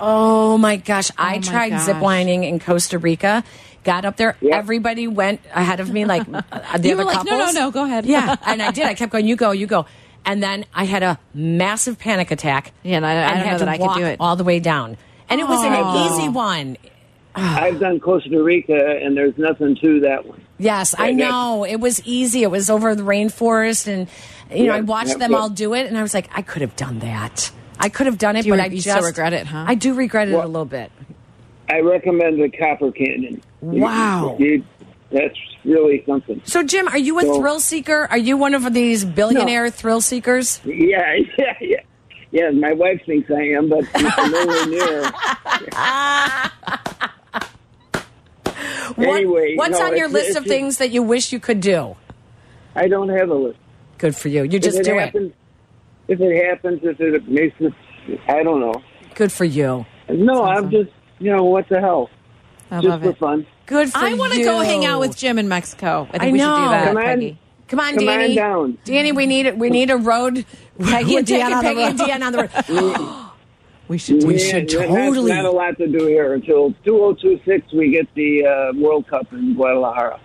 [SPEAKER 4] Oh my gosh. I
[SPEAKER 7] my
[SPEAKER 4] tried
[SPEAKER 7] gosh.
[SPEAKER 4] ziplining in Costa Rica. Got up there.
[SPEAKER 9] Yeah.
[SPEAKER 4] Everybody went ahead of me, like uh, the
[SPEAKER 7] You
[SPEAKER 4] other
[SPEAKER 7] were like,
[SPEAKER 4] couples.
[SPEAKER 7] "No, no, no, go ahead."
[SPEAKER 4] Yeah, and I did. I kept going. You go, you go, and then I had a massive panic attack.
[SPEAKER 7] Yeah, and I- I don't
[SPEAKER 4] had to
[SPEAKER 7] know that I could
[SPEAKER 4] walk
[SPEAKER 7] do it.
[SPEAKER 4] all the way down. And it was an
[SPEAKER 7] Aw.
[SPEAKER 4] easy one. Ah.
[SPEAKER 9] I've done Costa Rica, and there's nothing to that one.
[SPEAKER 4] Yes, I
[SPEAKER 9] Yeah, yeah.
[SPEAKER 4] know. It was easy. It was over the rainforest, and you know,
[SPEAKER 9] Yeah,
[SPEAKER 4] I watched
[SPEAKER 9] yeah,
[SPEAKER 4] them
[SPEAKER 9] yeah.
[SPEAKER 4] all do it, and I was like, I could have done that. I could have done it,
[SPEAKER 7] Do you
[SPEAKER 4] but
[SPEAKER 7] re-
[SPEAKER 4] I
[SPEAKER 7] you
[SPEAKER 4] just
[SPEAKER 7] still regret it, huh?
[SPEAKER 4] I do regret it a
[SPEAKER 9] Well-
[SPEAKER 4] little bit.
[SPEAKER 9] I recommend the Copper Canyon. You-
[SPEAKER 4] Wow.
[SPEAKER 9] you- that's really something.
[SPEAKER 4] So, Jim, are you a
[SPEAKER 9] So-
[SPEAKER 4] thrill seeker? Are you one of these billionaire thrill seekers?
[SPEAKER 9] Yeah, yeah, yeah. Yeah, my wife thinks I am, but it's nowhere near.
[SPEAKER 4] What-
[SPEAKER 9] Anyway,
[SPEAKER 4] what's
[SPEAKER 9] no,
[SPEAKER 4] on your
[SPEAKER 9] it's-
[SPEAKER 4] list
[SPEAKER 9] it's
[SPEAKER 4] of
[SPEAKER 9] just-
[SPEAKER 4] things that you wish you could do?
[SPEAKER 9] I don't have a list.
[SPEAKER 4] Good for you. You just
[SPEAKER 9] if it
[SPEAKER 4] do
[SPEAKER 9] happens, if it happens, if it makes it, I don't know.
[SPEAKER 4] it. Good for you.
[SPEAKER 9] No, I'm just, you know, what the hell?
[SPEAKER 7] I
[SPEAKER 9] just
[SPEAKER 7] love
[SPEAKER 9] for
[SPEAKER 7] it.
[SPEAKER 9] fun.
[SPEAKER 4] Good for
[SPEAKER 7] I want to go hang out with
[SPEAKER 4] you.
[SPEAKER 7] Jim in Mexico. I think
[SPEAKER 4] I
[SPEAKER 7] we should
[SPEAKER 4] know.
[SPEAKER 7] do that,
[SPEAKER 4] Come
[SPEAKER 9] on.
[SPEAKER 7] Peggy.
[SPEAKER 4] Come on,
[SPEAKER 9] Come on
[SPEAKER 4] Danny.
[SPEAKER 9] down.
[SPEAKER 4] Danny, we need we need a road. Peggy
[SPEAKER 7] and Dion on the
[SPEAKER 4] Peggy and
[SPEAKER 7] road.
[SPEAKER 4] Dion on the road.
[SPEAKER 7] We should do
[SPEAKER 4] We
[SPEAKER 9] Yeah,
[SPEAKER 4] should
[SPEAKER 9] yeah, that's
[SPEAKER 4] totally.
[SPEAKER 9] Not a lot to do here until 2026. We get the uh, World Cup in Guadalajara.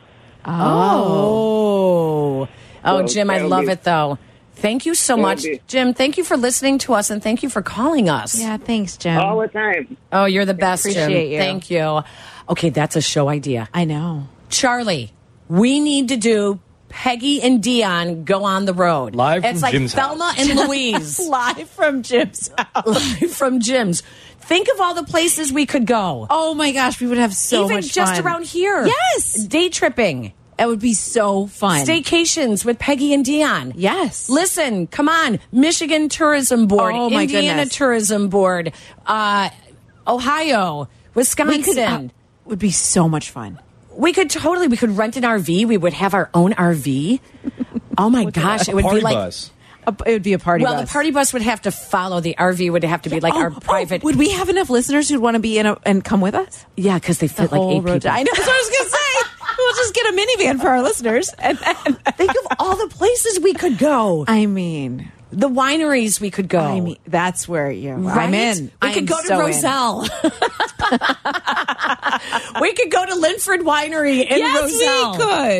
[SPEAKER 4] Oh. Oh,
[SPEAKER 9] So
[SPEAKER 4] Jim, I
[SPEAKER 9] that'll
[SPEAKER 4] love
[SPEAKER 9] be-
[SPEAKER 4] it though. Thank you so
[SPEAKER 9] That'll
[SPEAKER 4] much.
[SPEAKER 9] be-
[SPEAKER 4] Jim, thank you for listening to us and thank you for calling us.
[SPEAKER 7] Yeah, thanks, Jim.
[SPEAKER 4] Mm.
[SPEAKER 9] All the time.
[SPEAKER 4] Oh, you're the best, Jim.
[SPEAKER 7] Appreciate you.
[SPEAKER 4] Thank you. Okay, that's a show idea.
[SPEAKER 7] I know.
[SPEAKER 4] Charlie, we need to do Peggy and Dion go on the road.
[SPEAKER 8] Live
[SPEAKER 4] it's
[SPEAKER 8] from
[SPEAKER 4] like
[SPEAKER 8] Jim's
[SPEAKER 4] Thelma
[SPEAKER 8] house.
[SPEAKER 4] and Louise.
[SPEAKER 7] Live from Jim's house.
[SPEAKER 4] Live from Jim's. Think of all the places we could go.
[SPEAKER 7] Oh my gosh, we would have so
[SPEAKER 4] Even
[SPEAKER 7] much
[SPEAKER 4] just
[SPEAKER 7] fun.
[SPEAKER 4] around here.
[SPEAKER 7] Yes.
[SPEAKER 4] Day tripping.
[SPEAKER 7] That would be so fun.
[SPEAKER 4] Staycations with Peggy and Dion.
[SPEAKER 7] Yes.
[SPEAKER 4] Listen, come on. Michigan Tourism Board,
[SPEAKER 7] Oh, my
[SPEAKER 4] Indiana
[SPEAKER 7] goodness.
[SPEAKER 4] Tourism Board, uh, Ohio, Wisconsin.
[SPEAKER 7] We could- uh, would be so much fun.
[SPEAKER 4] We could totally. We could rent an RV. We would have our own RV. Oh my gosh! It would
[SPEAKER 5] Party
[SPEAKER 4] be like.
[SPEAKER 5] bus.
[SPEAKER 7] A- it would be a party
[SPEAKER 4] Well,
[SPEAKER 7] bus.
[SPEAKER 4] the party bus would have to follow the RV. Would have to be like
[SPEAKER 7] Oh,
[SPEAKER 4] our
[SPEAKER 7] oh,
[SPEAKER 4] private.
[SPEAKER 7] would we have enough listeners who'd want to be in a, and come with us?
[SPEAKER 4] yeah, because they fit like eight people.
[SPEAKER 7] Oh, I know. That's what I was going to say. we'll just get a minivan for our listeners. And then,
[SPEAKER 4] Think of all the places we could go.
[SPEAKER 7] I mean,
[SPEAKER 4] The wineries we could go.
[SPEAKER 7] I mean, that's where you.
[SPEAKER 4] Right?
[SPEAKER 7] I'm in.
[SPEAKER 4] We
[SPEAKER 7] I am
[SPEAKER 4] could go to
[SPEAKER 7] so in.
[SPEAKER 4] Roselle. we could go to Linford Winery in
[SPEAKER 7] Yes, we
[SPEAKER 4] Roselle.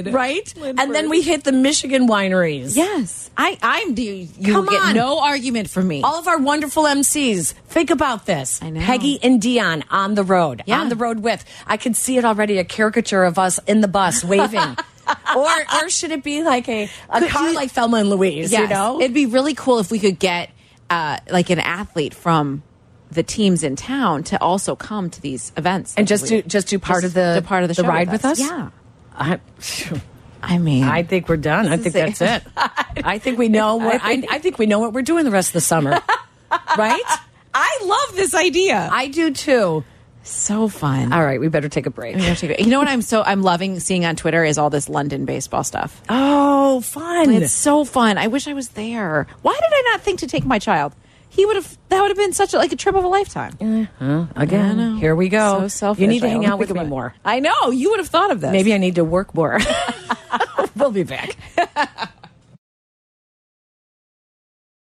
[SPEAKER 7] could.
[SPEAKER 4] Right? And
[SPEAKER 7] Linford.
[SPEAKER 4] then we hit the Michigan wineries.
[SPEAKER 7] Yes, I. I'm. Do you, you
[SPEAKER 4] Come
[SPEAKER 7] get
[SPEAKER 4] on.
[SPEAKER 7] no argument from me?
[SPEAKER 4] All of our wonderful MCs, think about this.
[SPEAKER 7] I know.
[SPEAKER 4] Peggy and Dion on the road,
[SPEAKER 7] Yeah.
[SPEAKER 4] on the road with. I could see it already a caricature of us in the bus waving. or or should it be like a, a
[SPEAKER 7] Could
[SPEAKER 4] car
[SPEAKER 7] you-
[SPEAKER 4] like Thelma and Louise,
[SPEAKER 7] Yes.
[SPEAKER 4] you know?
[SPEAKER 7] It'd be really cool if we could get uh, like an athlete from the teams in town to also come to these events
[SPEAKER 4] and just do
[SPEAKER 7] to
[SPEAKER 4] just do part
[SPEAKER 7] Just
[SPEAKER 4] of the,
[SPEAKER 7] do part of the show
[SPEAKER 4] ride
[SPEAKER 7] with
[SPEAKER 4] with
[SPEAKER 7] us.
[SPEAKER 4] us.
[SPEAKER 7] Yeah.
[SPEAKER 4] I,
[SPEAKER 7] I mean,
[SPEAKER 4] I think we're done. I think that's it. I think we know what I, I think we know what we're doing the rest of the summer. right?
[SPEAKER 7] I love this idea.
[SPEAKER 4] I do too.
[SPEAKER 7] so fun.
[SPEAKER 4] All right, we better take a break.
[SPEAKER 7] We have to go- You know what I'm so I'm loving seeing on Twitter is all this London baseball stuff.
[SPEAKER 4] Oh, fun.
[SPEAKER 7] It's so fun. I wish I was there. Why did I not think to take my child? He would have. That would have been such a, like a trip of a lifetime. I know.
[SPEAKER 4] Again, here we go.
[SPEAKER 7] So selfish.
[SPEAKER 4] You need to
[SPEAKER 7] I
[SPEAKER 4] hang
[SPEAKER 7] only
[SPEAKER 4] out with
[SPEAKER 7] think
[SPEAKER 4] me
[SPEAKER 7] about it.
[SPEAKER 4] more.
[SPEAKER 7] I know. You would have thought of this.
[SPEAKER 4] Maybe I need to work more. we'll be back.